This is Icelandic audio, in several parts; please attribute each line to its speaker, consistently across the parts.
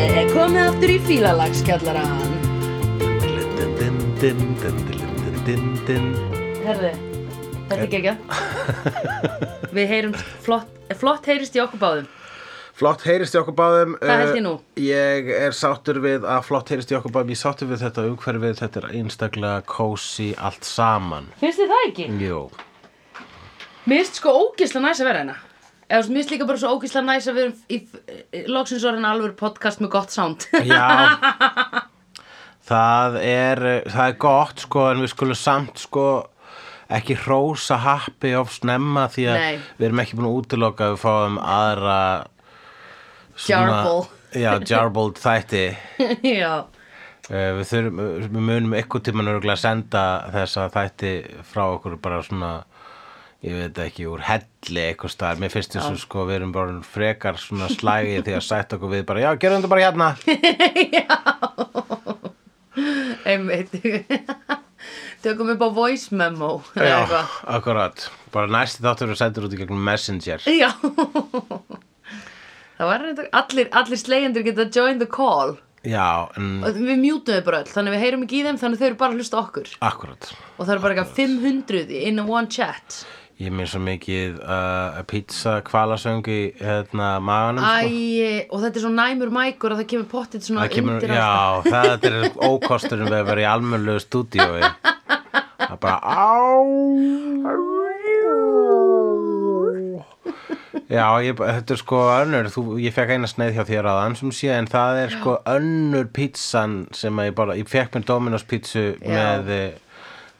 Speaker 1: aftur í fílalagskjallaran. Herði, þetta er ekki Við heyrum flott, flott heyrist í okkur báðum.
Speaker 2: Flott heyrist í okkur báðum
Speaker 1: Hvað held ég nú?
Speaker 2: Eh, Ég er sáttur við að flott heyrist í okkur báðum Ég er sáttur við þetta umhverfið Þetta er einstaklega kósi allt saman
Speaker 1: Finnst þið það ekki?
Speaker 2: Jú
Speaker 1: Mér finnst sko ógisla næs að vera hérna. Eða svo- mér finnst líka bara svo ógisla næs að vera í, í loksins orðin alveg podcast með gott sound.
Speaker 2: Já Það er, eh, það er gott sko en við skulum samt sko ekki hrósa happi of snemma því að
Speaker 1: Nei.
Speaker 2: við erum ekki búin að útiloka að við fáum aðra
Speaker 1: Jarble.
Speaker 2: Já, jarbled þætti
Speaker 1: Já.
Speaker 2: Eh, Við, þurfum, við munum ykkur tíman örgulega að senda þessa þætti frá okkur bara svona ég veit ekki, úr helli eitthvað staðar, mér finnst þessu sko við erum bara frekar svona slægið því að sætt okkur við bara, já, gerum þetta bara hérna
Speaker 1: Einmitt. Tökum upp á voice memo. eða
Speaker 2: Já,
Speaker 1: eitthvað.
Speaker 2: akkurat Bara næsti þáttur eru sendur út í gegnum Messenger
Speaker 1: Já. Það var reynda, allir, allir slegjendur geta join the call.
Speaker 2: Já, en
Speaker 1: Og Við mjútum þau bara öll, þannig við heyrum ekki í þeim, þannig þau eru bara að hlusta á okkur.
Speaker 2: akkurat
Speaker 1: Og það eru bara eitthvað 500 in a one chat.
Speaker 2: Ég minn svo mikið uh, pizza kvalasöng í hérna, maganum sko.
Speaker 1: Æ, og þetta er svo næmur mækur að það kemur pottit svona
Speaker 2: Það kemur,
Speaker 1: undir allt.
Speaker 2: já, það er ókosturinn við að vera í almennlegu stúdíói Það er bara á Já, ég, þetta er sko önnur, þú, ég fekk eina sneið hjá þér aðan sem sé, en það er sko önnur pizzan sem að ég bara, ég fekk mér Dominos pizzu með,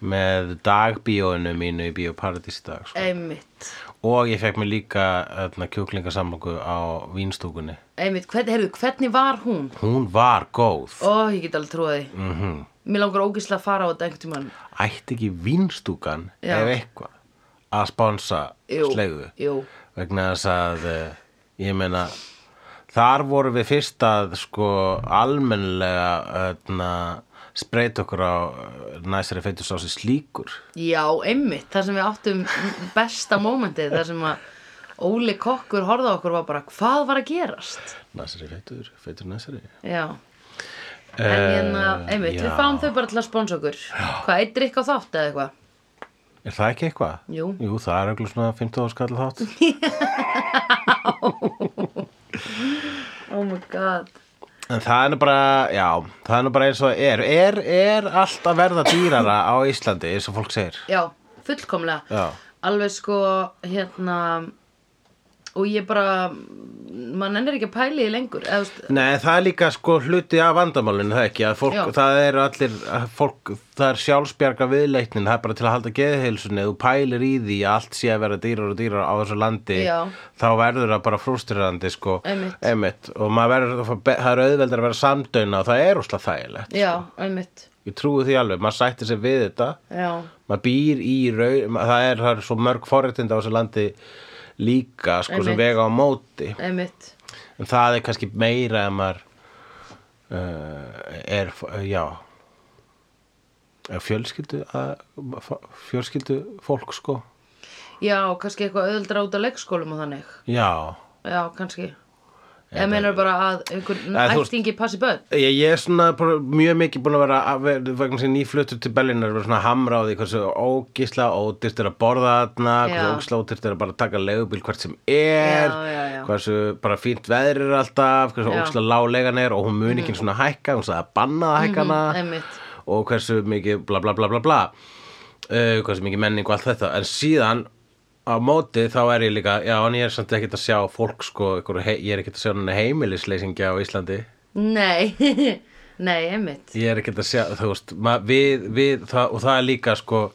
Speaker 2: með dagbíóinu mínu í Bíóparadís í dag, sko.
Speaker 1: Einmitt,
Speaker 2: Og ég fekk mér líka öðna, kjúklingasamloku á vínstúkunni.
Speaker 1: einmitt, hvern, heyrðu, hvernig var hún?
Speaker 2: Hún var góð.
Speaker 1: Ó, ég get alveg trúið því. Mm
Speaker 2: Mhm.
Speaker 1: -hmm. Mér langar ógislega að fara á þetta einhvern tímann.
Speaker 2: ætti ekki vinstúkan
Speaker 1: Já.
Speaker 2: ef eitthvað að sponsa
Speaker 1: Jú,
Speaker 2: slegðu
Speaker 1: jú.
Speaker 2: vegna þess að eh, ég meina þar vorum við fyrst að sko almennilega öðna, spreita okkur á eh, næsari feitursási slíkur
Speaker 1: Já, einmitt, þar sem við áttum besta mómentið, þar sem að Óli kokkur horfði á okkur og var bara, hvað var að gerast?
Speaker 2: næsari feitur, feitur næsari
Speaker 1: Já. En hérna, einmitt, við
Speaker 2: Eh, já.
Speaker 1: fáum þau bara til að sponsa okkur. Hvað, eitt drikk á þátt eða eitthvað?
Speaker 2: er það ekki eitthvað?
Speaker 1: Jú.
Speaker 2: það er eitthvað svona 15 skall þátt
Speaker 1: Oh my god.
Speaker 2: En það er nú bara, já, það er nú bara eins og það er. Er, er allt að verða dýrara á Íslandi, eins og fólk segir?
Speaker 1: Já, fullkomlega.
Speaker 2: Já.
Speaker 1: Alveg sko, hérna, og ég bara, mann ennir ekki að pæli því lengur. Eða, þú veist,
Speaker 2: Nei, það er líka sko hluti af vandamálinu, það ekki, að fólk,
Speaker 1: Já.
Speaker 2: það er allir, að fólk, það er sjálfsbjarga viðleitnin, það er bara til að halda geðheilsunni, þú pælir í því að allt sé að vera dýrar og dýrar á þessu landi,
Speaker 1: Já.
Speaker 2: þá verður það bara frústirandi, sko,
Speaker 1: Einmitt.
Speaker 2: og maður verður, að fá be- það er auðveldar að vera samdöina og það er úslega þægilegt,
Speaker 1: já, einmitt.
Speaker 2: ég trúi því alveg, maður sætti sér við þetta,
Speaker 1: Já,
Speaker 2: maður býr í raun, ma- það er, það er svo mörg forréttinda á þessu landi líka, sko,
Speaker 1: Einmitt.
Speaker 2: sem vega á móti,
Speaker 1: einmitt.
Speaker 2: en það er kannski meira ef maður uh, er f- já er fjölskyldu að, f- fjölskyldu fólk sko
Speaker 1: Já, kannski eitthvað auðvöldra út af leikskólum og þannig.
Speaker 2: já
Speaker 1: Já, kannski. Eða meinar bara að einhver
Speaker 2: Eða þú-
Speaker 1: ættingi passi börn?
Speaker 2: Ég, ég er svona bara mjög mikið búin að vera að ver- vegna sem nýfluttur til Berlín er verið svona hamráði hversu ógísla ódýrt er að borða þarna hversu
Speaker 1: Já.
Speaker 2: ógísla ódýrt er að bara taka leigubíl hvert sem er
Speaker 1: Já, já, já.
Speaker 2: hversu bara fínt veðri er alltaf hversu
Speaker 1: Já. Mhm.
Speaker 2: ógísla lálegan er og hún mun ekki svona hækka hún sagði að banna að hækka hana
Speaker 1: einmitt.
Speaker 2: og hversu mikið bla bla bla bla bla uh, hversu mikið menning og allt þetta en síðan á móti þá er ég líka já en ég er samt ekkert að sjá fólk sko ykkur, he, ég er ekkert að sjá henni heimilisleysingja á Íslandi
Speaker 1: Nei, nei, einmitt.
Speaker 2: ég er ekki að segja, þú veist ma, við, við, það, og það er líka sko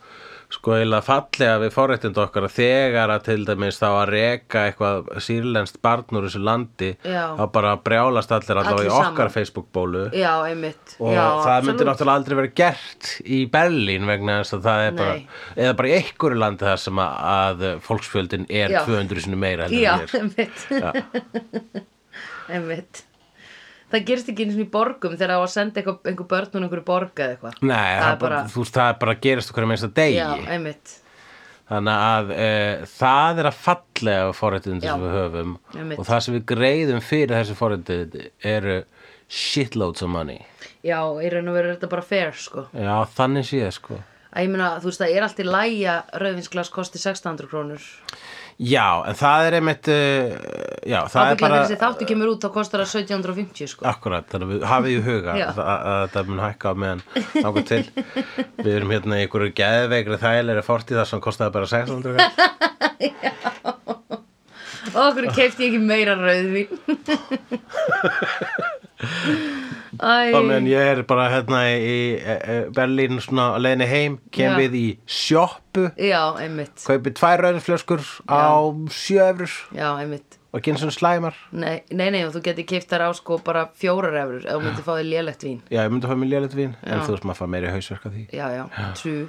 Speaker 2: sko eiginlega fallega við forréttindu okkar að þegar að til dæmis þá að reka eitthvað sýrlenskt barn úr þessu landi
Speaker 1: Já.
Speaker 2: þá bara brjálast allir allavega
Speaker 1: Allir
Speaker 2: í okkar
Speaker 1: saman.
Speaker 2: Facebook-bólu
Speaker 1: Já, einmitt.
Speaker 2: og
Speaker 1: já,
Speaker 2: það myndi
Speaker 1: absolutt.
Speaker 2: náttúrulega aldrei verið gert í Berlín vegna þess að það er bara
Speaker 1: Nei.
Speaker 2: eða bara í einhverju landi þar sem að, að fólksfjöldin er
Speaker 1: Já.
Speaker 2: 200 sinni meira heldur
Speaker 1: Já,
Speaker 2: en hér.
Speaker 1: einmitt. einmitt. Það gerist ekki eins og í borgum þegar það á að senda eitthvað, einhver börn og einhverju borg eða eitthvað.
Speaker 2: Nei, það,
Speaker 1: það
Speaker 2: það,
Speaker 1: er bara...
Speaker 2: þú veist, það er bara að gerast okkur með þess að degi
Speaker 1: Já, einmitt.
Speaker 2: Þannig að e, það er að fallega forréttindi
Speaker 1: Já.
Speaker 2: sem við höfum
Speaker 1: Einmitt.
Speaker 2: og það sem við greiðum fyrir þessi forréttindi eru shitloads of money
Speaker 1: Já, í raun og veru er þetta bara fair, sko.
Speaker 2: já, þannig sé ég sko
Speaker 1: Að ég meina, þú veist, það er allt í lægja rauðvinsglas kosti 600 krónur.
Speaker 2: já, en það er einmitt uh, já, það er
Speaker 1: Ábygglega
Speaker 2: bara
Speaker 1: þegar þessi þáttu kemur út, þá kostar það 1750, sko.
Speaker 2: Akkurat, þannig að við hafið í huga
Speaker 1: Já.
Speaker 2: að að þetta mun hækka á meðan nákvæm til. Við erum hérna í einhverju geðveikri þægilegri fortíð þar sem kostaði bara 600 kall.
Speaker 1: Og okkur keipti ég ekki meira rauðvin. Æ,
Speaker 2: Þá meðan ég er bara hérna í eh, eh, Berlín svona að leiðinni heim, kem
Speaker 1: Já.
Speaker 2: við í sjoppu,
Speaker 1: já, einmitt.
Speaker 2: kaupið tvær rauðinflöskur á sjö efrur
Speaker 1: Já, einmitt.
Speaker 2: og kynsum slæmar.
Speaker 1: Nei, nei, nei, og þú geti keipt þær á sko bara fjórar efur ef þú myndir fá þér lélegt vín.
Speaker 2: Já, ég myndi að fá mér lélitt vín, en
Speaker 1: Já.
Speaker 2: þú veist maður að fá meiri hausverka því.
Speaker 1: Já, já, true.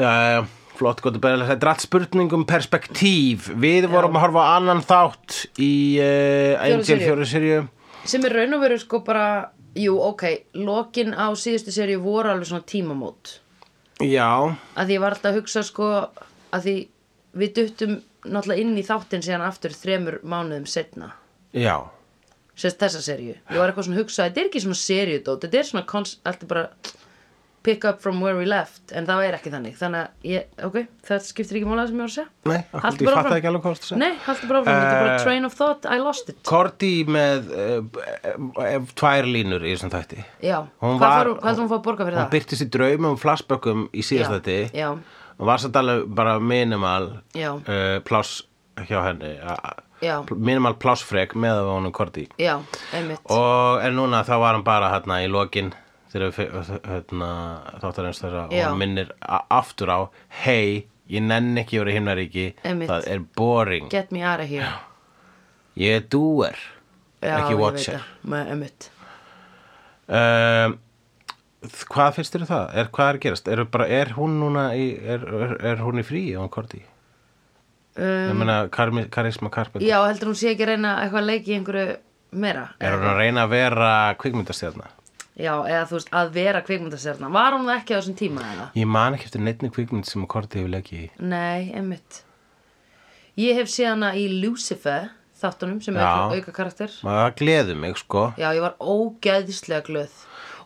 Speaker 2: Já, já, já. Flott, gott að bæða þetta er allt spurning um perspektív. Við vorum að horfa á annan þátt í uh, Angel
Speaker 1: seríu.
Speaker 2: fjóru sirju.
Speaker 1: Sem er raun og veru sko bara, jú, ok, lokin á síðustu seríu voru alveg svona tímamót.
Speaker 2: Já,
Speaker 1: Að því ég var alltaf að hugsa sko, að því við duttum náttúrulega inn í þáttinn síðan aftur þremur mánuðum setna.
Speaker 2: já,
Speaker 1: Sérst þessa seríu. Ég var eitthvað svona að hugsa, þetta er ekki svona seríudót, þetta er svona, cons- allt er bara pick up from where we left, en það er ekki þannig. Þannig að, ég, ok, það skiptir ekki málaði sem ég var að segja.
Speaker 2: nei, akkur,
Speaker 1: Haltu
Speaker 2: ég
Speaker 1: bara
Speaker 2: fatt
Speaker 1: áfram.
Speaker 2: ekki alveg hvað það
Speaker 1: Nei, haldur bara áfram, þetta er bara
Speaker 2: Eh,
Speaker 1: train of thought, I lost it.
Speaker 2: Korti með uh, uh, tvær línur í þessum þætti
Speaker 1: Já, hvað
Speaker 2: hún var-
Speaker 1: var, hún, hvað hún, hún fá að borga fyrir
Speaker 2: Hún
Speaker 1: það?
Speaker 2: byrtist í draumum og flashbökkum í síðast
Speaker 1: Já,
Speaker 2: þætti
Speaker 1: já,
Speaker 2: Hún var satt alveg bara minimal
Speaker 1: Já.
Speaker 2: uh, pláss hjá henni a-
Speaker 1: Já.
Speaker 2: pl- Minimal plássfrek með að honum Korti
Speaker 1: já, einmitt.
Speaker 2: Og en núna þá var hann bara hérna í lokin þegar við hérna, þáttar eins þeirra og
Speaker 1: Já.
Speaker 2: hann minnir a- aftur á Hei, ég nenn ekki að vera í himnaríki
Speaker 1: Einmitt.
Speaker 2: Það er boring
Speaker 1: Get me out of here.
Speaker 2: Ég er doer
Speaker 1: Já, ég
Speaker 2: ekki
Speaker 1: veit
Speaker 2: watcher.
Speaker 1: það. Nei, einmitt.
Speaker 2: Um, hvað finnst þér um það? Er, hvað er að gerast? Er, bara, er hún núna í, er, er, er hún í fríi og hann korti?
Speaker 1: Um,
Speaker 2: Ég meina, Karmi- Karisma Karpet
Speaker 1: já, heldur hún sé ekki að reyna eitthvað að leiki einhverju meira?
Speaker 2: Er hún að reyna að vera kvikmyndastjarna?
Speaker 1: Já, eða þú veist, að vera kvikmyndasérna. Var hún það ekki á þessum tíma eða?
Speaker 2: Ég man ekki eftir neittni kvikmynd sem korti hefur leikið í
Speaker 1: Nei, einmitt. Ég hef séð hana í Lucifer þáttunum sem er
Speaker 2: Já.
Speaker 1: auka karakter.
Speaker 2: Maður það gleður mig, sko
Speaker 1: Já, ég var ógeðislega glöð.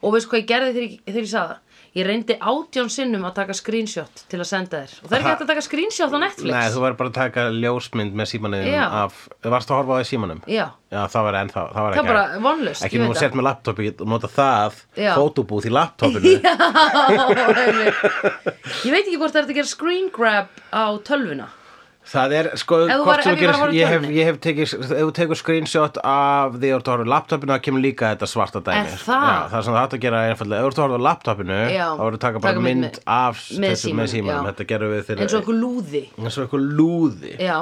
Speaker 1: Og veist hvað ég gerði þegar ég, þegar ég sagði það? Ég reyndi átján sinnum að taka screenshot til að senda þér. Og það er ekki hægt að taka screenshot á Netflix.
Speaker 2: Nei, þú verður bara að taka ljósmynd með símanuðum
Speaker 1: Já.
Speaker 2: af Varstu að horfa á það í símanum?
Speaker 1: Já,
Speaker 2: Já, það var ennþá Það var
Speaker 1: það er
Speaker 2: ekki
Speaker 1: bara vonlust.
Speaker 2: Ekki nú að setja með laptopi og nota það
Speaker 1: Já.
Speaker 2: Fótobúð í laptopinu
Speaker 1: Ég veit ekki hvort það er hægt að gera screen grab á tölvuna.
Speaker 2: Það er, sko,
Speaker 1: Ef þú
Speaker 2: hvort
Speaker 1: væri-
Speaker 2: sem
Speaker 1: ef ég væri að
Speaker 2: þú gerir,
Speaker 1: horfa á
Speaker 2: ég hef,
Speaker 1: tölvunni.
Speaker 2: ég hef tekið, ef þú tekur screenshot af því að þú ert að horfa á laptopinu, þá kemur líka þetta svarta dæmi.
Speaker 1: Er
Speaker 2: sko.
Speaker 1: það?
Speaker 2: Já, það er svona hægt að gera einfallega, ef þú ert að horfa á laptopinu,
Speaker 1: Já.
Speaker 2: þá verður að taka bara
Speaker 1: Taka mynd
Speaker 2: mynd
Speaker 1: með-
Speaker 2: af
Speaker 1: með
Speaker 2: þessu með
Speaker 1: símanum,
Speaker 2: símanum,
Speaker 1: já.
Speaker 2: þetta gerum við þegar,
Speaker 1: Eins og einhver lúði.
Speaker 2: eins og eitthvað lúði.
Speaker 1: Já.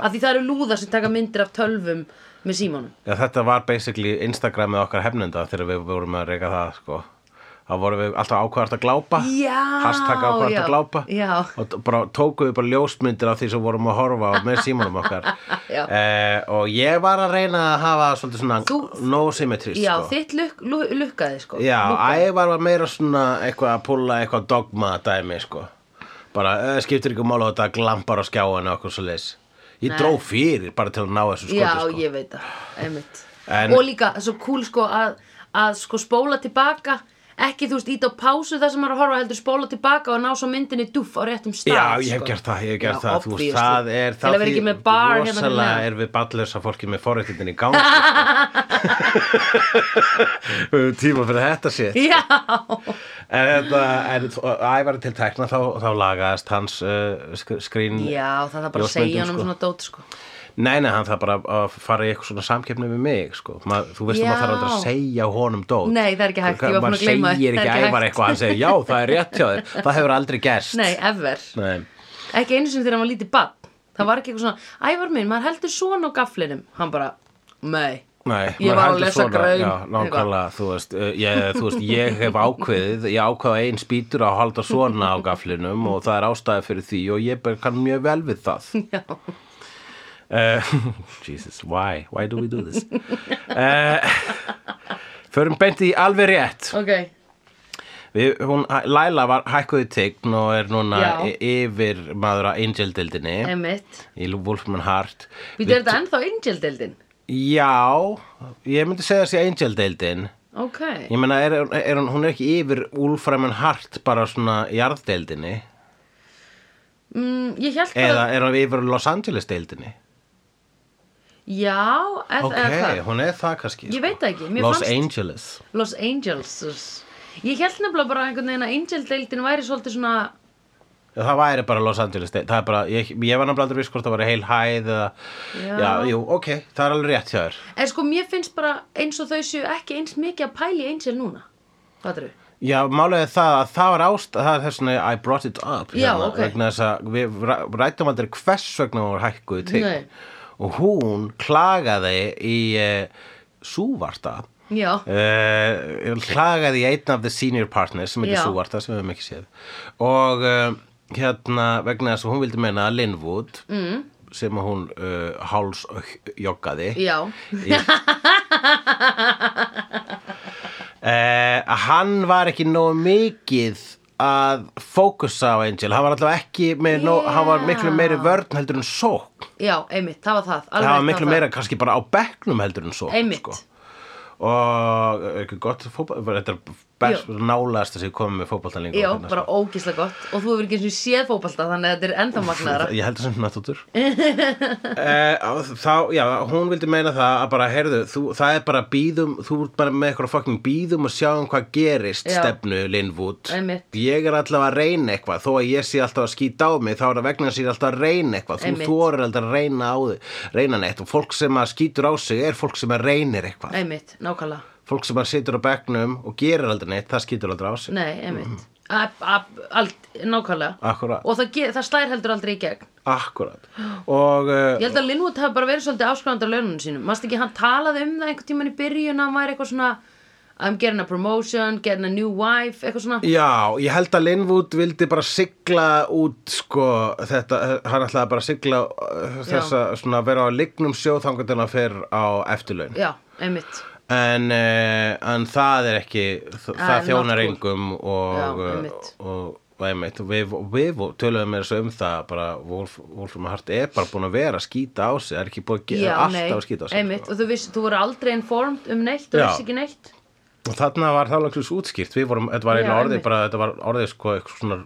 Speaker 1: Af því það eru lúðar sem taka myndir af tölvum með símanum.
Speaker 2: Já, þetta var basically Instagramið okkar hefnenda þegar við vorum að reyka það, sko. Þá vorum við alltaf ákvæðast að glápa,
Speaker 1: Já,
Speaker 2: hashtag ákvæðast
Speaker 1: já,
Speaker 2: að glápa
Speaker 1: já.
Speaker 2: og t- bara, tókum við bara ljósmyndir af því sem vorum að horfa á með símanum okkar.
Speaker 1: Já.
Speaker 2: eh, og ég var að reyna að hafa svolítið svona
Speaker 1: Þú-
Speaker 2: no symmetry,
Speaker 1: Já,
Speaker 2: sko.
Speaker 1: þitt luk, luk, lukkaði sko.
Speaker 2: Já,
Speaker 1: Lukkaði.
Speaker 2: ævar var meira svona eitthvað að púla eitthvað dogma dæmi, sko. Bara, eh, skiptir ykkur mála þetta glampar á skjáinu og okkur svo leis. Ég
Speaker 1: Nei.
Speaker 2: dró fyrir bara til að ná þessu skoti,
Speaker 1: Já,
Speaker 2: sko.
Speaker 1: ég veit það, einmitt
Speaker 2: En-
Speaker 1: Og líka, svo cool sko að, að sko spóla tilbaka ekki þú veist ít á pásu þar sem maður er að horfa heldur spóla tilbaka og ná svo myndinni duff á réttum stað
Speaker 2: Já, ég hef
Speaker 1: sko.
Speaker 2: gert það, ég hef gert
Speaker 1: Já,
Speaker 2: það, þú veist,
Speaker 1: obviously.
Speaker 2: það er
Speaker 1: Til að vera ekki með bar hérna fyrir
Speaker 2: rosalega
Speaker 1: neðan.
Speaker 2: er við ballösa fólki með forréttindin í gangi, sko. Við höfum tíma fyrir þetta sétt.
Speaker 1: Já,
Speaker 2: En þetta, en þó- ævar til tekna, þá, þá lagaðist hans uh, sk- skrín.
Speaker 1: já það er bara að
Speaker 2: Ljósmyndum,
Speaker 1: segja hann um
Speaker 2: sko.
Speaker 1: svona dót sko
Speaker 2: Nei, nei, hann þarf bara að fara í eitthvað svona samkeppni við mig, sko. Ma, þú veist að
Speaker 1: Já.
Speaker 2: maður þarf aldrei að segja honum dót.
Speaker 1: Nei, það er ekki hægt, ég var búin að gleyma
Speaker 2: gleyma
Speaker 1: því.
Speaker 2: Maður segir
Speaker 1: Það er
Speaker 2: ekki
Speaker 1: ekki
Speaker 2: ævar
Speaker 1: hægt.
Speaker 2: eitthvað, hann segir, já, það er rétt hjá þér, það hefur aldrei gerst.
Speaker 1: Nei, ever,
Speaker 2: Nei.
Speaker 1: ekki einu sinni þegar hann var lítið bann Það var ekki eitthvað svona, ævar minn, maður heldur svona á gaflinum Hann bara, nei
Speaker 2: Nei,
Speaker 1: Ég var
Speaker 2: maður
Speaker 1: að
Speaker 2: heldur
Speaker 1: lesa
Speaker 2: svona,
Speaker 1: grein,
Speaker 2: Já,
Speaker 1: eitthvað.
Speaker 2: nákvæmlega, þú veist, uh, ég, þú veist, ég hef ákveðið, ég ákveða einn spýtur að halda svona á gaflinum og það er ástæði fyrir því og ég bara kann mjög vel við það.
Speaker 1: Já,
Speaker 2: Uh, Jesus, why? Why do we do this? Uh, förum beint í alveg rétt.
Speaker 1: ok,
Speaker 2: Við, hún, Laila var hækkuði tign og er núna
Speaker 1: Já. Eh.
Speaker 2: y- yfir maður að Angel-dildinni
Speaker 1: einmitt
Speaker 2: í Wolfman Heart.
Speaker 1: Við erum þetta ennþá angel-deildin
Speaker 2: Já, ég myndi segja þessi Angel deildin
Speaker 1: ok,
Speaker 2: Ég meina, er, er, hún- hún er ekki yfir Wolfram and Hart bara svona jarðdeildinni
Speaker 1: mm, ég held bara
Speaker 2: eða er hún yfir Los Angeles deildinni
Speaker 1: já, eð,
Speaker 2: Ok,
Speaker 1: eða hvað
Speaker 2: hún er það kannski
Speaker 1: Ég
Speaker 2: sko.
Speaker 1: veit það ekki, mér
Speaker 2: Los
Speaker 1: fannst-
Speaker 2: Angeles
Speaker 1: Los Angeles þess. ég held nefnilega bara einhvern veginn að Angel deildin væri svolítið svona
Speaker 2: Það væri bara Los Angeles deild- það er bara, ég, ég var náttúrulega aldrei viss hvort það væri heil hæð eða,
Speaker 1: Já.
Speaker 2: jú, ok, það er alveg rétt hjá þér
Speaker 1: en sko mér finnst bara eins og þau séu ekki eins mikið að pæli Angel núna hvað eru?
Speaker 2: Já, málega það að það var ást það er þess að I brought it up hérna,
Speaker 1: Já, ok.
Speaker 2: vegna þess að við ra- ræddum aldrei hvers vegna hún var hækkuð til
Speaker 1: Nei.
Speaker 2: og hún klagaði í uh, súvarta
Speaker 1: já,
Speaker 2: Eh. uh, klagaði í einn af the senior partners sem
Speaker 1: Já.
Speaker 2: heitir Súvarta sem við höfum ekki séð og uh, hérna vegna þess að hún vildi meina að Lynn Wood mm. sem að hún uh, hálsjoggaði
Speaker 1: já,
Speaker 2: Eh, að hann var ekki nógu mikið að fókusa á Angel hann var allavega ekki með nóg,
Speaker 1: Já.
Speaker 2: hann var miklu meiri vörn heldur en sók
Speaker 1: já, einmitt, það var það alveg,
Speaker 2: hann var miklu
Speaker 1: það
Speaker 2: meira kannski bara á bekknum heldur en sók
Speaker 1: Einmitt.
Speaker 2: og er ekki gott fótball þetta er best nálaðast þess að ég komið með hérna, fótballtalingu
Speaker 1: já, bara
Speaker 2: sko.
Speaker 1: ógíslega gott og þú hefur ekki eins og séð fótbalta þannig að þetta er enda magnaðara
Speaker 2: Ég held þessum nattútur uh, Þá, já, hún vildi meina það að bara, heyrðu, þú, það er bara býðum þú ert bara með eitthvað fucking býðum og sjáum hvað gerist
Speaker 1: Já.
Speaker 2: stefnu Linwood
Speaker 1: Einmitt.
Speaker 2: Ég er alltaf að reyna eitthvað þó að ég sé alltaf að skýta á mig þá er það vegna þess að ég er alltaf að reyna eitthvað þú
Speaker 1: Einmitt.
Speaker 2: þorir alltaf að reyna á þig reyna neitt og fólk sem að skýtur á sig er fólk sem að reynir eitthvað
Speaker 1: einmitt, nákvæmlega
Speaker 2: fólk sem að situr á bekknum og gerir aldrei neitt það skýtur aldrei á sig
Speaker 1: Nei,
Speaker 2: Mm.
Speaker 1: einmitt ab, ab, allt, Nákvæmlega
Speaker 2: Akkúrat.
Speaker 1: Og það, ge- það slær heldur aldrei í gegn
Speaker 2: Akkurat og uh,
Speaker 1: Ég held að Linwood hafi bara verið svolítið áskrifandi á laununum sínum Manstu ekki, hann talaði um það einhvern tímann í byrjun að hann væri eitthvað svona I'm getting a promotion, getting a new wife eitthvað svona
Speaker 2: Já, ég held að Linwood vildi bara sigla út sko þetta, hann ætlaði bara að sigla uh, þess að svona vera á lignum sjóþangatina fyrr á eftirlaun
Speaker 1: Já, einmitt
Speaker 2: en, uh, en það er ekki það,
Speaker 1: Ah,
Speaker 2: það
Speaker 1: not
Speaker 2: þjónar
Speaker 1: cool.
Speaker 2: engum og,
Speaker 1: Já,
Speaker 2: uh,
Speaker 1: einmitt.
Speaker 2: og, og einmitt og við, og við töluðum með þessu um það bara Wolf, Wolfram Hart er bara búin að vera að skýta á sig, það er ekki búin að
Speaker 1: Já,
Speaker 2: gera
Speaker 1: nei,
Speaker 2: alltaf að skýta á sig
Speaker 1: einmitt
Speaker 2: sko.
Speaker 1: Og þú, viss, þú voru aldrei informed um neitt, þú
Speaker 2: Já.
Speaker 1: vissi ekki neitt
Speaker 2: og þarna var það alveg svo útskýrt við vorum, þetta var
Speaker 1: Já,
Speaker 2: eiginlega orðið
Speaker 1: einmitt.
Speaker 2: bara þetta var orðið sko eitthvað svona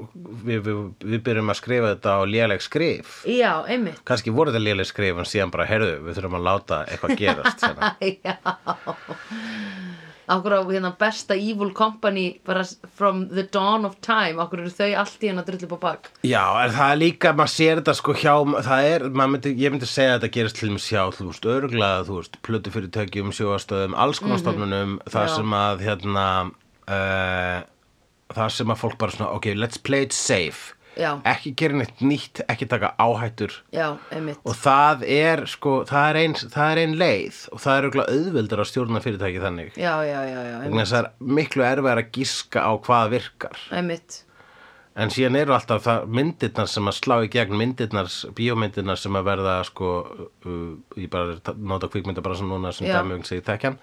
Speaker 2: við, við, við byrjum að skrifa þetta á léleg skrif
Speaker 1: Já, einmitt
Speaker 2: kannski voru þetta léleg skrif en síðan bara heyrðu, við þurfum að láta eitthvað gerast hérna.
Speaker 1: Já Akkur á hérna besta evil company bara s- from the dawn of time Akkur eru þau allt í hérna drullu på bak
Speaker 2: já, en það er líka, maður sér þetta sko hjá það er, maður myndi, ég myndi segja að þetta gerist til þess hjá, þú veist, örglaða þú veist, plötu fyrirtækjum, sjóastöðum alls konar stofnunum, það
Speaker 1: Mhm. Já.
Speaker 2: sem að hérna uh, það sem að fólk bara svona, ok, let's play it safe
Speaker 1: Já.
Speaker 2: ekki gera neitt nýtt, ekki taka áhættur
Speaker 1: Já, einmitt
Speaker 2: og það er sko, það er ein, það er ein leið og það er auðvitað auðveldar að stjórna fyrirtæki þannig
Speaker 1: Já, já, já, já,
Speaker 2: vegna
Speaker 1: einmitt,
Speaker 2: þess að það er miklu erfæðar að gíska á hvað virkar
Speaker 1: einmitt.
Speaker 2: en síðan eru alltaf það myndirnar sem að slá í gegn myndirnar, bíómyndirnar sem að verða sko, uh, ég bara er að ta- nota kvikmynda bara sem núna sem um
Speaker 1: Já.
Speaker 2: dæmjöng segi þekkjan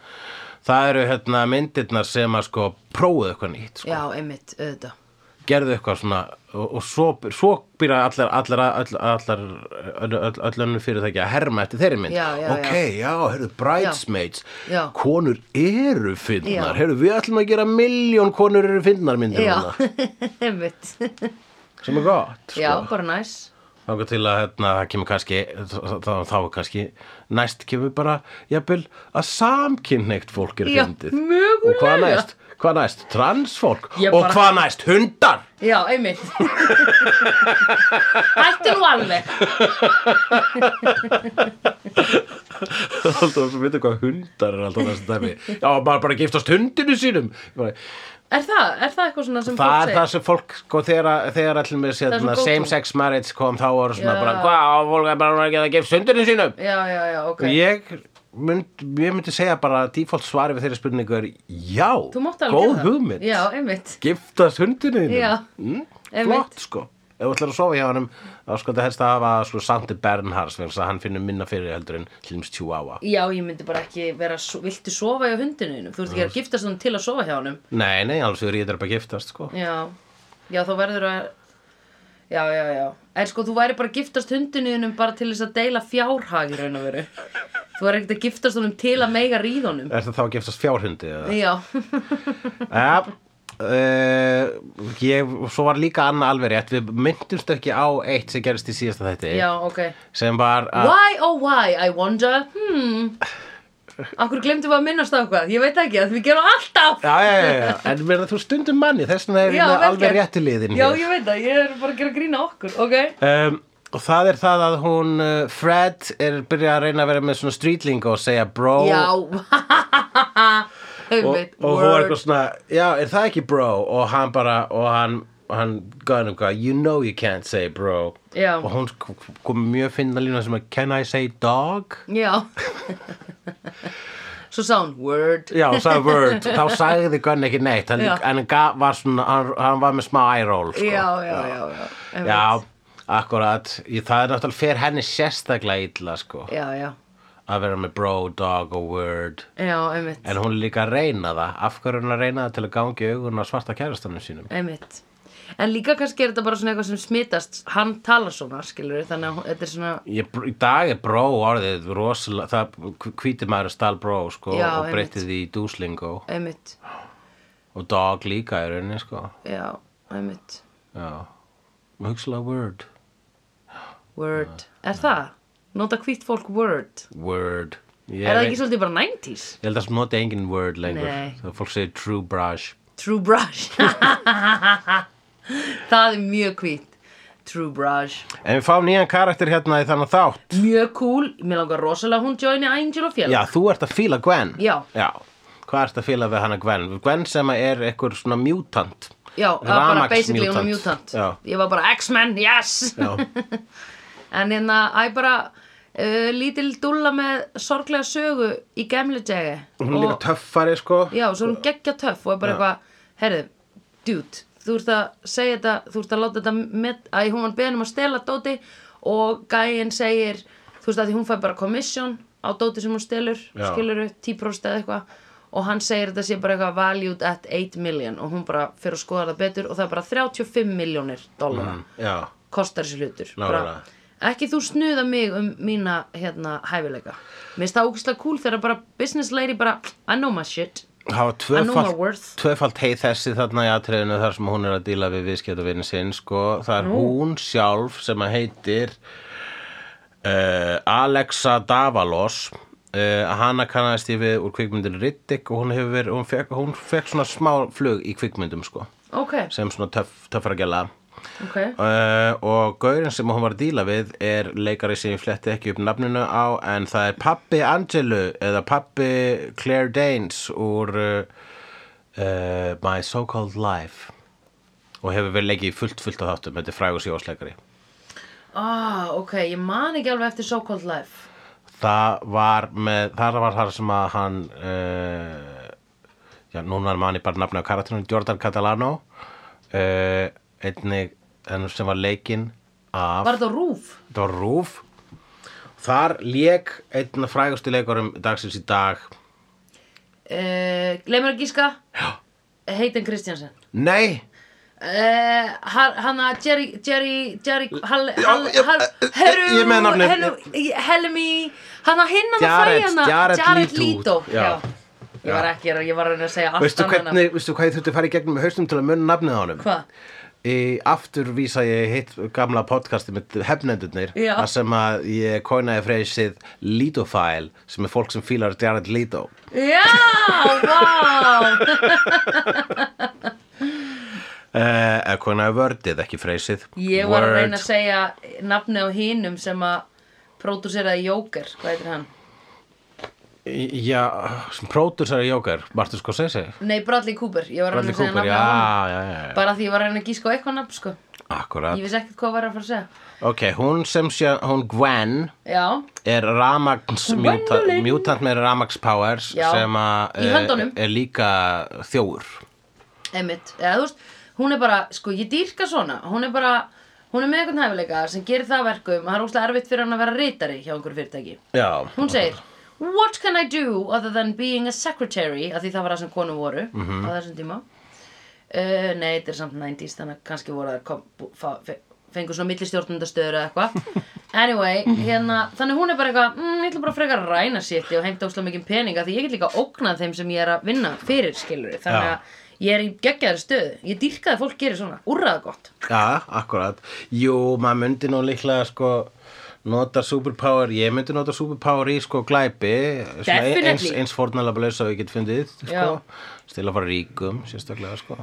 Speaker 2: það eru hérna myndirnar sem að sko prófuðu eitthvað nýtt sko.
Speaker 1: Já, einmitt, auðvitað
Speaker 2: gerðu eitthvað svona og, og svo, svo byrja allar allar, allar, allar öll- öll- öll önnur fyrirtæki að herma eftir þeirri mynd
Speaker 1: Já, já,
Speaker 2: ok, já, heyrðu, bridesmaids
Speaker 1: Já.
Speaker 2: konur eru
Speaker 1: Já.
Speaker 2: fyndnar heyrðu, við ætlum að gera miljón konur eru fyndnar myndir
Speaker 1: Já,
Speaker 2: núna
Speaker 1: einmitt
Speaker 2: sem er gott sko.
Speaker 1: Já, bara næs
Speaker 2: Þanga til að hérna, það kemur kannski, þá, þá kannski, næst kemur bara, jafnvel, að samkynneitt fólk er
Speaker 1: Já,
Speaker 2: fyndið.
Speaker 1: mögulega.
Speaker 2: Og hvað næst? Hvað næst? Transfólk?
Speaker 1: Ég
Speaker 2: og
Speaker 1: bara-
Speaker 2: hvað næst? Hundar?
Speaker 1: Já, einmitt Hættu nú alveg
Speaker 2: Það er alltaf, við veitum hvað hundar er alltaf þessi dæmi. Já, maður bara giftast hundinu sínum. Bara,
Speaker 1: Er það, er það eitthvað svona sem
Speaker 2: Það
Speaker 1: fólk
Speaker 2: er
Speaker 1: segir?
Speaker 2: það sem fólk, sko, þegar, þegar allir
Speaker 1: er
Speaker 2: með sérna,
Speaker 1: svo go-to.
Speaker 2: same sex marriage kom, þá voru svona
Speaker 1: Já.
Speaker 2: bara, hvað, á fólk er bara ekki að gefst hundinu sínum.
Speaker 1: Já, já, já, ok
Speaker 2: Ég, mynd, ég myndi segja bara að default svari við þeirri spurningu er já,
Speaker 1: Þú mátt alveg
Speaker 2: góð
Speaker 1: gera það.
Speaker 2: hugmynd
Speaker 1: Já, einmitt
Speaker 2: giftast hundinu þínum.
Speaker 1: Já,
Speaker 2: mm,
Speaker 1: einmitt.
Speaker 2: flott sko ef þú ætlar að sofa hjá hannum þá sko þetta helst að hafa sko Santi Bernhards þannig að hann finnur minna fyrir heldur en Hlims Chihuahua
Speaker 1: Já, ég myndi bara ekki vera svo- Viltu sofa hjá hundinu þínum? Þú ert ekki að giftast honum til að sofa hjá honum
Speaker 2: nei, nei, alls við rýðum bara að giftast sko
Speaker 1: Já, já, þá verður að Já, já, já En sko, þú væri bara að giftast hundinu þínum bara til þess að deila fjárhag í raun og veru þú er ekkert að giftast honum til að mega ríðunum
Speaker 2: Er það þá að gefast fjárhundi eða?
Speaker 1: já,
Speaker 2: Ja, uh, ég, svo var líka annað alveg rétt Við myndumst ekki á eitt sem gerist í síðasta þætti
Speaker 1: já, ok
Speaker 2: Sem var að
Speaker 1: why oh why, I wonder hmm okkur glemtum við að minnast á eitthvað, ég veit ekki að við gerum alltaf
Speaker 2: Já, já, já, já, en verða þú stundum manni Þess vegna
Speaker 1: Já,
Speaker 2: er ég með
Speaker 1: vel
Speaker 2: alveg
Speaker 1: gert.
Speaker 2: rétti liðin
Speaker 1: já, ég veit það, ég er bara að gera grína okkur ok,
Speaker 2: um, Og það er það að hún, eh, Fred, er byrjað að reyna að vera með svona strýtling og segja bro
Speaker 1: já
Speaker 2: og,
Speaker 1: einmitt,
Speaker 2: og hún var
Speaker 1: word.
Speaker 2: eitthvað svona, já, er það ekki bro? Og hann bara, og hann, og hann gæði um hvað, you know you can't say bro.
Speaker 1: Já.
Speaker 2: Og hún sk- kom með mjög finna lína sem að, can I say dog?
Speaker 1: Já Svo sá hún word
Speaker 2: Já, og sagði word, þá sagði Gunn ekki neitt, hann,
Speaker 1: Já.
Speaker 2: en hann gaf- var svona, hann, hann var með smá eye roll, sko.
Speaker 1: Já, já, já, já einmitt.
Speaker 2: Já, akkurat, Ég- það er náttúrulega fer henni sérstaklega illa, sko,
Speaker 1: Já, já,
Speaker 2: að vera með bro, dog og word.
Speaker 1: já, einmitt
Speaker 2: En hún er líka að reyna það, af hverju er hún að reyna það til að gangi augun á svarta kærastanum sínum?
Speaker 1: Einmitt En líka kannski er þetta bara svona eitthvað sem smitast Hann talar svona, skilur Þannig að hún- þetta er svona
Speaker 2: Ég, í dag er bró orðið rosalega, það hvítir maður stál bró sko
Speaker 1: Já,
Speaker 2: og
Speaker 1: einmitt.
Speaker 2: breytið því í dúslingo
Speaker 1: Einmitt,
Speaker 2: og dog líka í rauninni sko
Speaker 1: já, einmitt
Speaker 2: já, hugsalega word
Speaker 1: Word Er það? Nota hvítt fólk word
Speaker 2: word ég,
Speaker 1: Er það
Speaker 2: veit-
Speaker 1: ekki svolítið bara 90s?
Speaker 2: ég held að það noti engin word lengur
Speaker 1: Nei.
Speaker 2: það fólk segir true brush
Speaker 1: True brush Það er mjög hvítt True brush
Speaker 2: en við fáum nýjan karakter hérna í þannig þátt
Speaker 1: Mjög cool, mér langar rosalega að hún joini Angel og félag
Speaker 2: já, þú ert að fíla Gwen
Speaker 1: Já.
Speaker 2: hvað ert að fíla við hana Gwen Gwen sem er eitthvað svona mutant
Speaker 1: Já, það var bara
Speaker 2: Rafmagns-
Speaker 1: basically hún er
Speaker 2: mutant.
Speaker 1: mutant
Speaker 2: Já.
Speaker 1: Ég var bara X-Men, yes
Speaker 2: já,
Speaker 1: En hérna, æ bara uh, lítil dúlla með sorglega sögu í gamle degi
Speaker 2: hún er líka töffari sko
Speaker 1: Já, svo er hún geggja töff og er bara eitthvað Herðu, dude, þú ert að segja þetta Þú ert að láta þetta með Æ, hún var beðin um að stela dóti Og gæin segir, þú veist að því hún fær bara commission á dóti sem hún stelur
Speaker 2: Já.
Speaker 1: Skiluru, 10% eða eitthvað Og hann segir þetta sé bara eitthvað valued at 8 million Og hún bara fyrir að skoða það betur Og það er bara 35 milljónir dollara
Speaker 2: já,
Speaker 1: kostar þessi hlutur
Speaker 2: Mhm. Nákvæmlega.
Speaker 1: ekki þú snuða mig um mína hérna, hæfileika mér finnst það ógislega cool þegar bara business lady bara I know my shit
Speaker 2: Það
Speaker 1: know
Speaker 2: var
Speaker 1: my
Speaker 2: tvöfald,
Speaker 1: worth.
Speaker 2: tvöfald heið þessi þarna í atriðinu þar sem hún er að díla við viðskiptavinn sinn sko. Það er hún sjálf sem að heitir uh, Alexa Davalos uh, hana kannaðist ég við úr kvikmyndinu Riddick og hún hefur verið, hún fekk, hún fekk svona smá flug í kvikmyndum sko
Speaker 1: ok,
Speaker 2: sem svona töff, töffara gæla
Speaker 1: ok
Speaker 2: Uh, og gaurinn sem hún var að díla við er leikari sem ég fletti ekki upp nafninu á en það er pappi Angelu eða pappi Claire Danes úr uh, uh, My So-Called Life og hefur verið leikið í fullt fullt á þáttum þetta er frægur sjósleikari
Speaker 1: ah, ok, ég man ekki alveg eftir so-called life
Speaker 2: það var með þar var þar sem að hann uh, já núna mann ég bara nafni á karatinu Jordan Catalano uh, einnig en sem var leikinn af
Speaker 1: var þetta á rúf?
Speaker 2: Þetta var Rúf Þar lék einn af frægustu leikurum dagsins í dag
Speaker 1: Uh, gleymur að gíska? já Heitin Kristjansen
Speaker 2: Nei,
Speaker 1: uh, Hanna Jerry Jerry, Jerry Hall, Hall,
Speaker 2: já,
Speaker 1: Hall,
Speaker 2: eh, eh,
Speaker 1: Heru,
Speaker 2: ég með nafnið.
Speaker 1: Helmi Helmi Hanna hinn hann að
Speaker 2: Jared-
Speaker 1: fræja hana
Speaker 2: Jared Leto.
Speaker 1: Leto
Speaker 2: Já.
Speaker 1: Já. Ég var ekki, ég var að reyna að segja allt
Speaker 2: veistu,
Speaker 1: annað nafn.
Speaker 2: hvernig, veistu hvað ég þurfti að fara í gegnum með haustum til að munna nafnið á honum?
Speaker 1: Hvað?
Speaker 2: Í aftur vísa ég í hitt gamla podcasti með hefnendurnir
Speaker 1: Já.
Speaker 2: þar sem að ég koinaði freysið Lidofile sem er fólk sem fílar Jared Lido
Speaker 1: Já, vá
Speaker 2: eh, eða koinaði vördið, ekki freysið
Speaker 1: Ég var að reyna að segja nafni á hinum sem að pródúseraði Jóker, hvað heitir hann?
Speaker 2: Já, sem pródusar í Jóker, Martin Scorsese
Speaker 1: Nei, Bradley Cooper, ég var að reyna
Speaker 2: Bradley
Speaker 1: að segja
Speaker 2: Cooper,
Speaker 1: nafni
Speaker 2: já,
Speaker 1: á hann
Speaker 2: já, já, já.
Speaker 1: Bara því ég var að reyna að gíska á eitthvað nafn, sko
Speaker 2: Akkurat
Speaker 1: Ég vissi ekkert hvað var að fara að segja
Speaker 2: Ok, hún sem sé, hún Gwen
Speaker 1: Já,
Speaker 2: er Ramax mutant,
Speaker 1: Gwendolyn.
Speaker 2: mutant með Ramax Powers
Speaker 1: Já,
Speaker 2: sem að,
Speaker 1: í
Speaker 2: eh,
Speaker 1: höndunum.
Speaker 2: er líka þjófur
Speaker 1: Einmitt, eða þú veist, hún er bara, sko, ég dýrka svona, hún er bara, hún er með eitthvað hæfileika sem gerir það að verkum að það er óslega erfitt fyrir hann að vera rítari hjá einhverju fyrirtæki.
Speaker 2: Já,
Speaker 1: Hún segir, what can I do other than being a secretary, af því það var það sem konum voru
Speaker 2: Mhm.
Speaker 1: á þessum tíma. Uh, nei, þetta er samt 90s, þannig að kannski voru það kom, fá, fe- fengu svona millistjórnundastöður eða eitthvað. Anyway, hérna, þannig hún er bara eitthvað, mm, ég ætla bara frekar að ræna sétti og heimta óslega mikið peninga því ég get líka ógnað þeim sem ég er að vinna fyrir skilur þannig
Speaker 2: Já.
Speaker 1: að ég er í geggjaðri stöðu, ég dýrka að fólk gerir svona, úrraða gott
Speaker 2: Já, akkurat. Jú, maður myndi nú líklega sko nota superpower, ég myndi nota superpower í sko glæpi, svona
Speaker 1: Definitely.
Speaker 2: eins, eins fornalabba laus að ég get fundið, sko,
Speaker 1: Já.
Speaker 2: stila bara ríkum, sérstaklega, sko.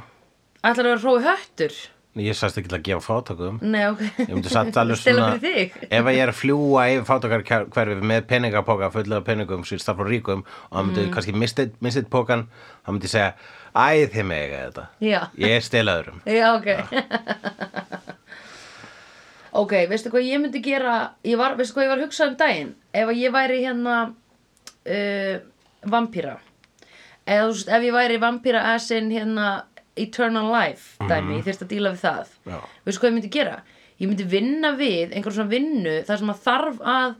Speaker 1: Ætlar að vera hrói höttur?
Speaker 2: Ég sæst ekki til að gefa fátökum.
Speaker 1: Nei, ok
Speaker 2: Ég myndi satt alveg
Speaker 1: Stela
Speaker 2: svona,
Speaker 1: fyrir þig
Speaker 2: ef að ég er að fljúa yfir fátakarkverfi með peningapoka fulla af peningum sem ég stafla ríkum og það
Speaker 1: Mm.
Speaker 2: myndi kannski mistið, mistið pokan, þá myndi ég segja, æ, þið með eiga þetta.
Speaker 1: Já,
Speaker 2: Ég er stilaðurum.
Speaker 1: já, ok Ok, veistu hvað ég myndi gera ég var, Veistu hvað ég var að hugsa um daginn Ef að ég væri hérna uh, Vampíra Eða þú veist, ef ég væri vampíra as in hérna Eternal Life dæmi, ég þyrst að díla við það
Speaker 2: Já.
Speaker 1: veistu hvað ég myndi gera? Ég myndi vinna við einhverjum svona vinnu þar sem að þarf að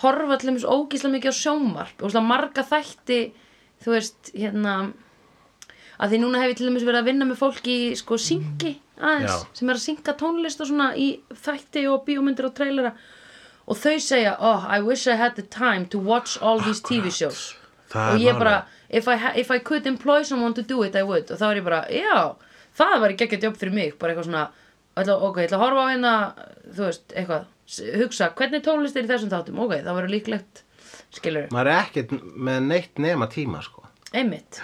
Speaker 1: horfa til þeimis ógíslega mikið á sjónvarp og svona marga þætti þú veist, hérna að því núna hef ég til dæmis verið að vinna með fólki í sko syngi aðeins
Speaker 2: Já.
Speaker 1: sem er að synga tónlist og svona í þætti og bíómyndir og trailera og þau segja, oh, I wish I had the time to watch all these TV shows
Speaker 2: Það
Speaker 1: og
Speaker 2: er
Speaker 1: ég
Speaker 2: málið.
Speaker 1: bara, if I, ha- if I could employ someone to do it, I would og þá er ég bara, já, það var ekki ekkert jobb fyrir mig bara eitthvað svona, ætla, ok, ég ætla að horfa á hérna þú veist, eitthvað s- hugsa, hvernig tónlist er í þessum þáttum ok, það var líklegt, skilur
Speaker 2: Maður er ekkert með neitt nema tíma, sko.
Speaker 1: einmitt,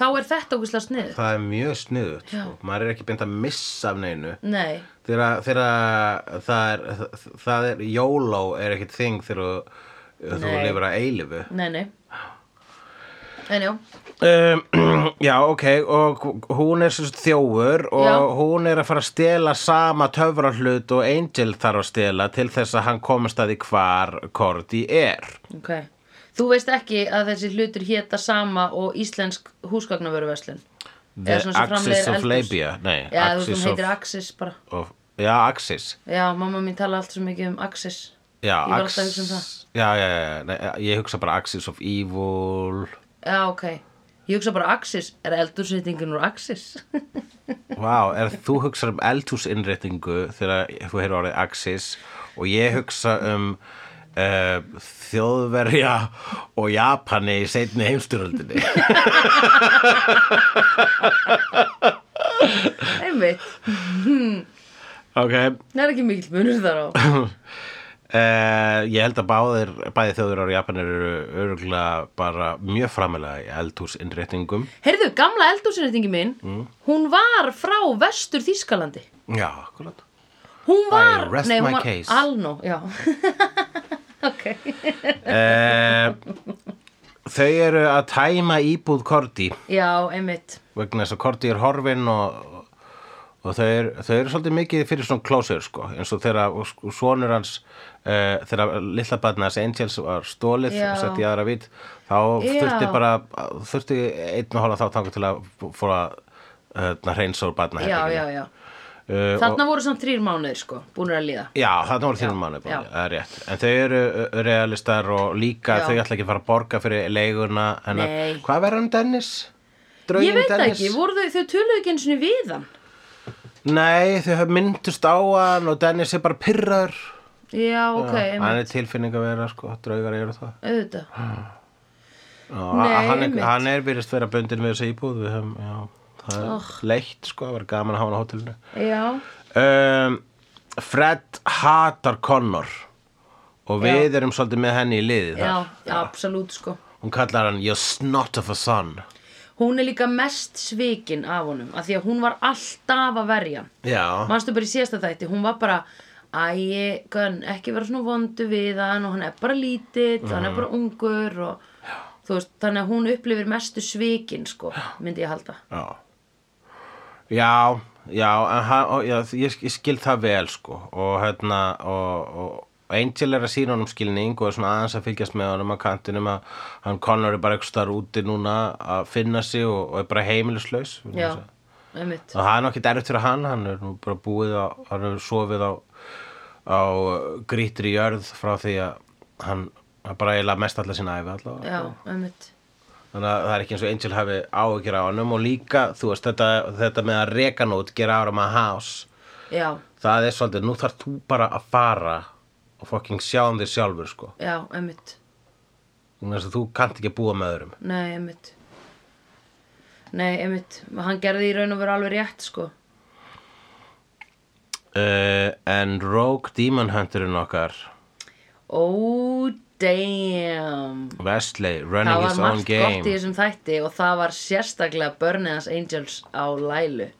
Speaker 1: þá er þetta okkur slags niður
Speaker 2: Það er mjög sniðut, sko. maður er ekki beint að missa af neinu.
Speaker 1: nei,
Speaker 2: Þegar þegar það er, það er, YOLO er ekkit þing þegar þú- þú
Speaker 1: Nei.
Speaker 2: lifir að eilifu.
Speaker 1: nei, nei en já,
Speaker 2: Um, já, ok, og hún er sem sagt þjófur og
Speaker 1: Já.
Speaker 2: hún er að fara að stela sama töfrahlut og Angel þarf að stela til þess að hann komast að því hvar Korti er.
Speaker 1: ok þú veist ekki að þessi hlutur héta sama og íslensk húsgagnavöruverslun
Speaker 2: The
Speaker 1: Eða svona sem
Speaker 2: Axis
Speaker 1: framleiðir
Speaker 2: of
Speaker 1: eldhús.
Speaker 2: Labia, nei,
Speaker 1: já, þú veist,
Speaker 2: Axis
Speaker 1: hún
Speaker 2: of,
Speaker 1: heitir Axis bara
Speaker 2: of, já, Axis.
Speaker 1: Já, mamma mín tala allt svo mikið um Axis
Speaker 2: Já,
Speaker 1: Ég var alltaf að hugsa um
Speaker 2: Ax- Já, já, já, já, nei, ég hugsa bara Axis of Evil
Speaker 1: Já, ok Ég hugsa bara Axis, er eldursettingin úr Axis?
Speaker 2: Vá, er þú hugsar um eldhúsinnréttingu þegar þú hefur orðið Axis og ég hugsa um uh, þjóðverja og Japani í seinni heimstyröldinni
Speaker 1: Einmitt,
Speaker 2: Ok
Speaker 1: það er ekki mikill munur þar á
Speaker 2: Uh, ég held að báðir, bæði þjóður á Japan eru öruglega bara mjög framilega í eldhúsinnréttingum
Speaker 1: Heyrðu, gamla eldursettingin mín
Speaker 2: Mm.
Speaker 1: Hún var frá vestur Þýskalandi
Speaker 2: Já, akkurat
Speaker 1: Hún var,
Speaker 2: I rest
Speaker 1: nei,
Speaker 2: my
Speaker 1: hún var
Speaker 2: case.
Speaker 1: Alnó, já Ok
Speaker 2: Eh, Þau eru að tæma íbúð Korti
Speaker 1: Já, einmitt
Speaker 2: vegna þess að Korti er horfin og, og þau, er, þau eru svolítið mikið fyrir svona klósur sko eins og þegar sko, sonur hans uh, þegar litla barna hans Angels var stólið
Speaker 1: Já.
Speaker 2: og sett í aðra vít þá
Speaker 1: Já.
Speaker 2: þurfti bara þurfti einn og hóla þá tangu til að fóra uh, hreinsór barna
Speaker 1: Já, já, já
Speaker 2: Uh,
Speaker 1: Þarna voru samt þrýr mánuðir, sko, búnir að líða
Speaker 2: Já, það voru þínum
Speaker 1: já.
Speaker 2: manni bara, það er rétt. En þau eru uh, realistar og líka
Speaker 1: Já.
Speaker 2: þau ætla ekki að fara að borga fyrir leiguna. hennar.
Speaker 1: Nei.
Speaker 2: Hvað verður um Dennis? Drauginn
Speaker 1: Ég veit það
Speaker 2: Dennis?
Speaker 1: ekki, voru þau, þau töluðu ekki einu sinni við hann
Speaker 2: Nei, þau hafa myndust á hann og Dennis er bara pyrrar.
Speaker 1: Já, ok, einmitt,
Speaker 2: hann er tilfinning að vera, sko, draugar eru það.
Speaker 1: auðvitað
Speaker 2: Og
Speaker 1: Nei,
Speaker 2: hann, er-
Speaker 1: einmitt.
Speaker 2: hann er virðist vera bundin við þessa íbúð. Við höfum, já, það er leitt, sko, það var gaman að hafa hann á hótelinu.
Speaker 1: Já,
Speaker 2: um, Fred hatar Connor og við erum svolítið með henni í liði
Speaker 1: já,
Speaker 2: þar
Speaker 1: absolút sko
Speaker 2: hún kallar hann your snot of a son
Speaker 1: Hún er líka mest svikin af honum af því að hún var alltaf að verja hann.
Speaker 2: já,
Speaker 1: Manstu bara í síðasta þætti, hún var bara Æi, gönn, ekki vera svona vondu við hann og hann er bara lítill, hann
Speaker 2: Mm.
Speaker 1: er bara ungur og þú veist, þannig að hún upplifir mestu svikin sko, myndi ég halda
Speaker 2: já já, já, en hann, og, já ég, ég skil það vel sko og hérna og, og Angel er að sína honum skilning og er svona aðeins að fylgjast með honum að kantinum að hann Connor er bara eitthvað starf úti núna að finna sig og, og er bara heimilislaus vegna
Speaker 1: Já,
Speaker 2: þess að-
Speaker 1: einmitt
Speaker 2: Og það er nokkið erfitt fyrir hann, hann er nú bara búið á, hann er sofið á, á grýtri jörð frá því að hann hann bara eiginlega mest allar sína æfi allavega.
Speaker 1: Já, einmitt
Speaker 2: Þannig að það er ekki eins og Angel hafi áhyggjur á honum og líka, þú veist, þetta, þetta með að reka nút, gera ára maður hás,
Speaker 1: Já,
Speaker 2: það er svolítið, nú þarf þú bara að fara og fucking sjáum þér sjálfur sko
Speaker 1: já, emmitt
Speaker 2: Vegna þess að þú kannt ekki að búa með öðrum
Speaker 1: Nei, einmitt Nei, einmitt Hann gerði í raun og veru alveg rétt, sko
Speaker 2: uh, en Rogue Demon Hunterinn okkar
Speaker 1: Oh, damn
Speaker 2: Wesley
Speaker 1: Það
Speaker 2: running
Speaker 1: var
Speaker 2: his own
Speaker 1: margt
Speaker 2: game
Speaker 1: gott í þessum þætti og það var sérstaklega Burneyans Angels á Lælu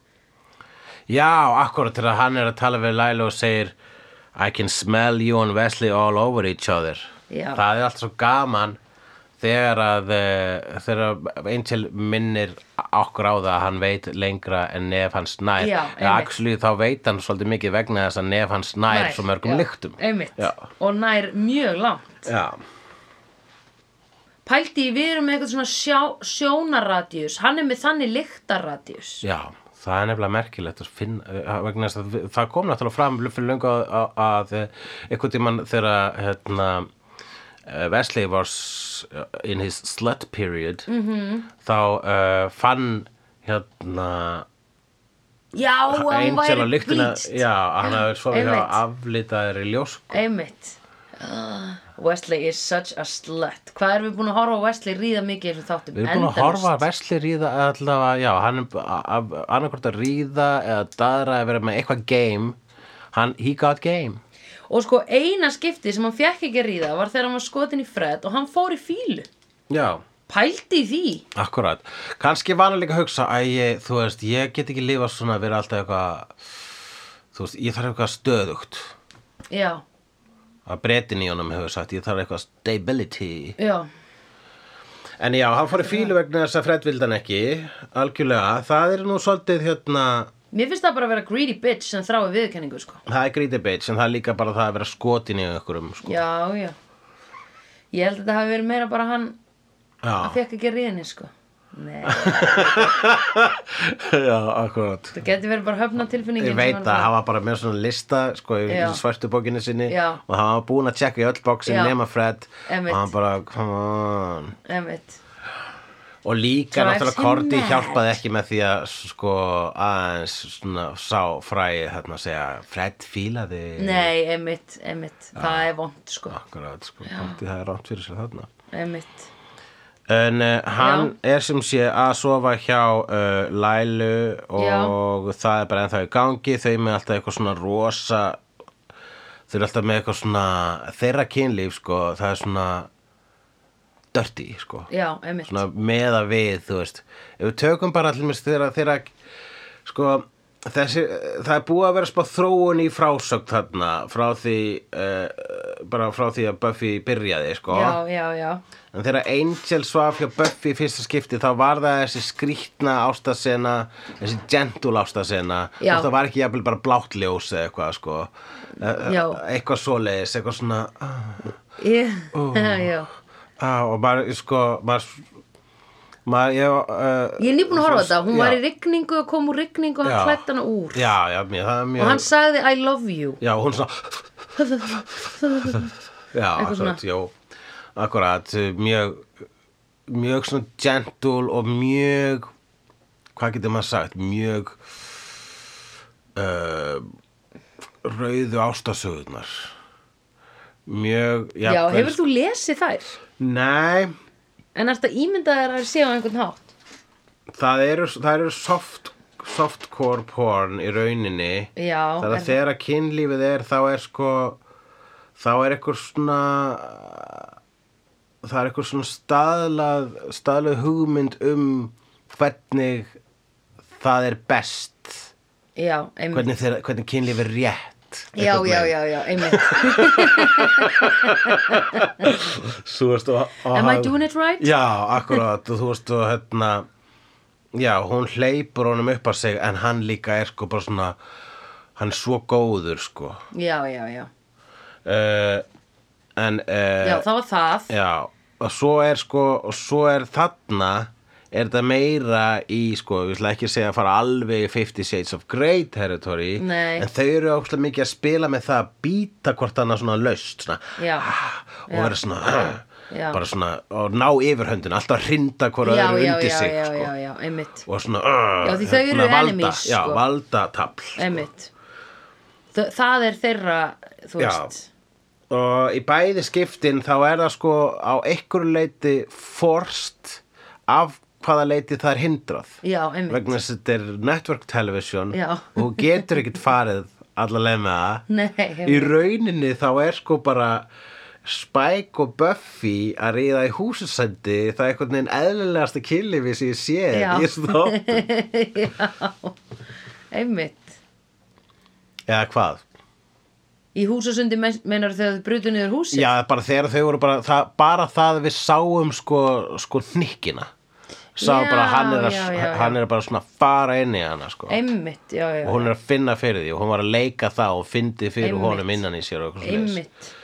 Speaker 2: Já, akkurat þegar hann er að tala við Lilo og segir I can smell you and Wesley all over each other
Speaker 1: Já.
Speaker 2: Það er allt svo gaman þegar að eh, þegar að Angel minnir okkur á það að hann veit lengra en nef hans nær
Speaker 1: Já, einmitt.
Speaker 2: Eða actually þá veit hann svolítið mikið vegna þess að nef hans nær, svo mörgum
Speaker 1: já,
Speaker 2: lyktum
Speaker 1: Einmitt,
Speaker 2: Já.
Speaker 1: og nær mjög langt
Speaker 2: Já,
Speaker 1: Pældi, í, við erum með eitthvað svona sjá, sjónaradíus Hann er með þannig lyktaradíus
Speaker 2: já Það er nefnilega merkilegt að finna eh, vegna þess að við- það kom náttúrulega fram fyrir löngu að, að, að eh, einhvern tímann þegar að, hérna, eh, Wesley var s- in his slut period
Speaker 1: Mhm.
Speaker 2: -hmm. þá uh, fann hérna
Speaker 1: Já, að hún
Speaker 2: Angel
Speaker 1: væri
Speaker 2: á lyktina
Speaker 1: bleached.
Speaker 2: já, hann hafði svo hjá
Speaker 1: einmitt.
Speaker 2: aflitaðir í ljós
Speaker 1: Einmitt Ah, Wesley is such a slut Hvað erum við búin að horfa á Wesley ríða mikið í þessum þáttum?
Speaker 2: Við erum búin að
Speaker 1: Endalaust.
Speaker 2: horfa að Vesli ríða allavega, já, hann er annarkvort að ríða eða daðra að vera með eitthvað game, hann, he got game.
Speaker 1: Og sko eina skipti sem hann fekk ekki að ríða var þegar hann var skotin í Fred og hann fór í fílu
Speaker 2: Já,
Speaker 1: Pældi í því
Speaker 2: Akkurat, kannski var hann líka að hugsa að ég, þú veist, ég get ekki lifa svona að vera alltaf eitthvað þú veist, ég þarf eitthvað stöðugt
Speaker 1: Já,
Speaker 2: að breytin í honum hefur sagt, ég þarf eitthvað stability
Speaker 1: já,
Speaker 2: En já, hann fór í fílu vegna þess að Fred vildi hann ekki algjörlega, það er nú svolítið hérna,
Speaker 1: mér finnst það bara að vera greedy bitch sem þrái viðkenningu sko
Speaker 2: það er grítið bitch en það er líka bara það að vera skotin í einhverjum sko.
Speaker 1: Já, já Ég held að þetta hafi verið meira bara hann
Speaker 2: Já,
Speaker 1: hann fekk ekki að ríða henni sko Nei,
Speaker 2: já, akkurat
Speaker 1: það geti verið bara höfna tilfinningin
Speaker 2: Ég veit að hann var bara með svona lista sko, í
Speaker 1: Já.
Speaker 2: svörtu bókinni sinni
Speaker 1: Já.
Speaker 2: og hann var búinn að tjekka í öll bóksin
Speaker 1: Já.
Speaker 2: nema Fred
Speaker 1: Einmitt.
Speaker 2: og hann bara, come on
Speaker 1: Einmitt,
Speaker 2: og líka
Speaker 1: Drives
Speaker 2: náttúrulega
Speaker 1: him
Speaker 2: Korti
Speaker 1: mad.
Speaker 2: hjálpaði ekki með því að sko aðeins svona sá fræði þarna að segja Fred fílaði
Speaker 1: nei, einmitt, einmitt Það er vond sko,
Speaker 2: akkurat sko, Korti það er rámt fyrir sér þarna
Speaker 1: einmitt
Speaker 2: en uh, hann er sem sé að sofa hjá uh, Lælu og það er bara ennþá í gangi þau með alltaf eitthvað svona rosa þau eru alltaf með eitthvað svona þeirra kynlíf sko, það er svona dirty sko
Speaker 1: Já, einmitt
Speaker 2: svona meða við, þú veist ef við tökum bara allir mér þegar þeirra sko, þessi það er búið að vera spá þróun í frásögn þarna, frá því uh, bara frá því að Buffy byrjaði, sko
Speaker 1: Já, já, já
Speaker 2: en þegar Angel svaf hjá Buffy í fyrsta skipti, þá var það þessi skrýtna ástasena, þessi gentle ástasena, þú
Speaker 1: Já.
Speaker 2: veist, það var ekki jafnvel bara blátt ljós eða eitthvað, sko Eh,
Speaker 1: Já.
Speaker 2: eitthvað svoleiðis, eitthvað svona ah,
Speaker 1: Ég,
Speaker 2: Oh.
Speaker 1: já.
Speaker 2: ah, og maður, sko maður, maður ég, uh,
Speaker 1: Ég er nýbúin að horfa á þetta, hún
Speaker 2: Já.
Speaker 1: var í rigningu og kom úr rigningu og hann
Speaker 2: Já.
Speaker 1: klætt hana úr
Speaker 2: Já, já, mér, það er mjög
Speaker 1: og hann sagði I love you
Speaker 2: Já, hún svona Já, akkurat, já Akkurat, mjög mjög svona gentle og mjög hvað getur maður sagt, mjög uh, rauðu ástasögurnar mjög
Speaker 1: Já,
Speaker 2: jafnvel-
Speaker 1: hefur þú lesið þær?
Speaker 2: Nei,
Speaker 1: En ert að ímynda þær að séu á einhvern hátt?
Speaker 2: það eru, það eru soft, softcore porn í rauninni
Speaker 1: Já,
Speaker 2: Það er
Speaker 1: en-
Speaker 2: að þegar að kynlífið er þá er sko þá er eitthvað svona það er eitthvað svona staðlað staðlað hugmynd um hvernig það er best
Speaker 1: já, einmitt
Speaker 2: hvernig, þeir, hvernig kynlífið er rétt
Speaker 1: Já, já, já, já, einmitt
Speaker 2: Svo veist og, og
Speaker 1: Am I doing it right?
Speaker 2: Já, akkurat og þú veist og hérna já, hún hleypur honum upp að sig en hann líka er sko bara svona hann er svo góður sko
Speaker 1: Já, já, já
Speaker 2: uh, en uh,
Speaker 1: Já, það var það
Speaker 2: Já, og svo er sko og svo er þarna er þetta meira í sko við ætla ekki að segja að fara alveg í 50 Shades of Grey territory
Speaker 1: Nei.
Speaker 2: en þau eru ókslega mikið að spila með það að býta hvort annað svona laust svona,
Speaker 1: Já.
Speaker 2: ah, og
Speaker 1: Já.
Speaker 2: vera svona ah,
Speaker 1: Já.
Speaker 2: bara svona og ná yfirhöndin alltaf að hrinda
Speaker 1: Já,
Speaker 2: hvort öðru
Speaker 1: já,
Speaker 2: undir
Speaker 1: já,
Speaker 2: sig
Speaker 1: já,
Speaker 2: sko.
Speaker 1: já, já, einmitt
Speaker 2: og svona ah,
Speaker 1: Já, því þau eru
Speaker 2: valda,
Speaker 1: enemies,
Speaker 2: já,
Speaker 1: sko.
Speaker 2: valdatafl sko.
Speaker 1: Einmitt Þa- Það er þeirra, þú
Speaker 2: Já.
Speaker 1: veist
Speaker 2: og í bæði skiptin þá er það sko á einhverju leiti forst af hvaða leiti það er hindrað
Speaker 1: Já, einmitt.
Speaker 2: vegna þess að þetta er network television
Speaker 1: Já.
Speaker 2: og þú getur ekkert farið alla leið með það
Speaker 1: Nei,
Speaker 2: í
Speaker 1: einmitt.
Speaker 2: rauninni þá er sko bara Spike og Buffy að ríða í húsusendi það er einhvern veginn eðlilegasta killifi sem ég sé
Speaker 1: Já.
Speaker 2: í þessu þáttum.
Speaker 1: einmitt
Speaker 2: eða hvað
Speaker 1: Í húsasundi meinar þegar þau brutu niður húsið
Speaker 2: Já, bara þegar þau voru bara það, bara það að við sáum sko, sko hnikkina sá
Speaker 1: Já,
Speaker 2: bara að hann er, að,
Speaker 1: já, já, já.
Speaker 2: hann er bara svona að fara inn í hana sko.
Speaker 1: Einmitt, já, já
Speaker 2: og hún er að finna fyrir því og hún var að leika það og fyndi fyrir
Speaker 1: Einmitt.
Speaker 2: honum innan í sér og eitthvað svoleiðis.
Speaker 1: Einmitt,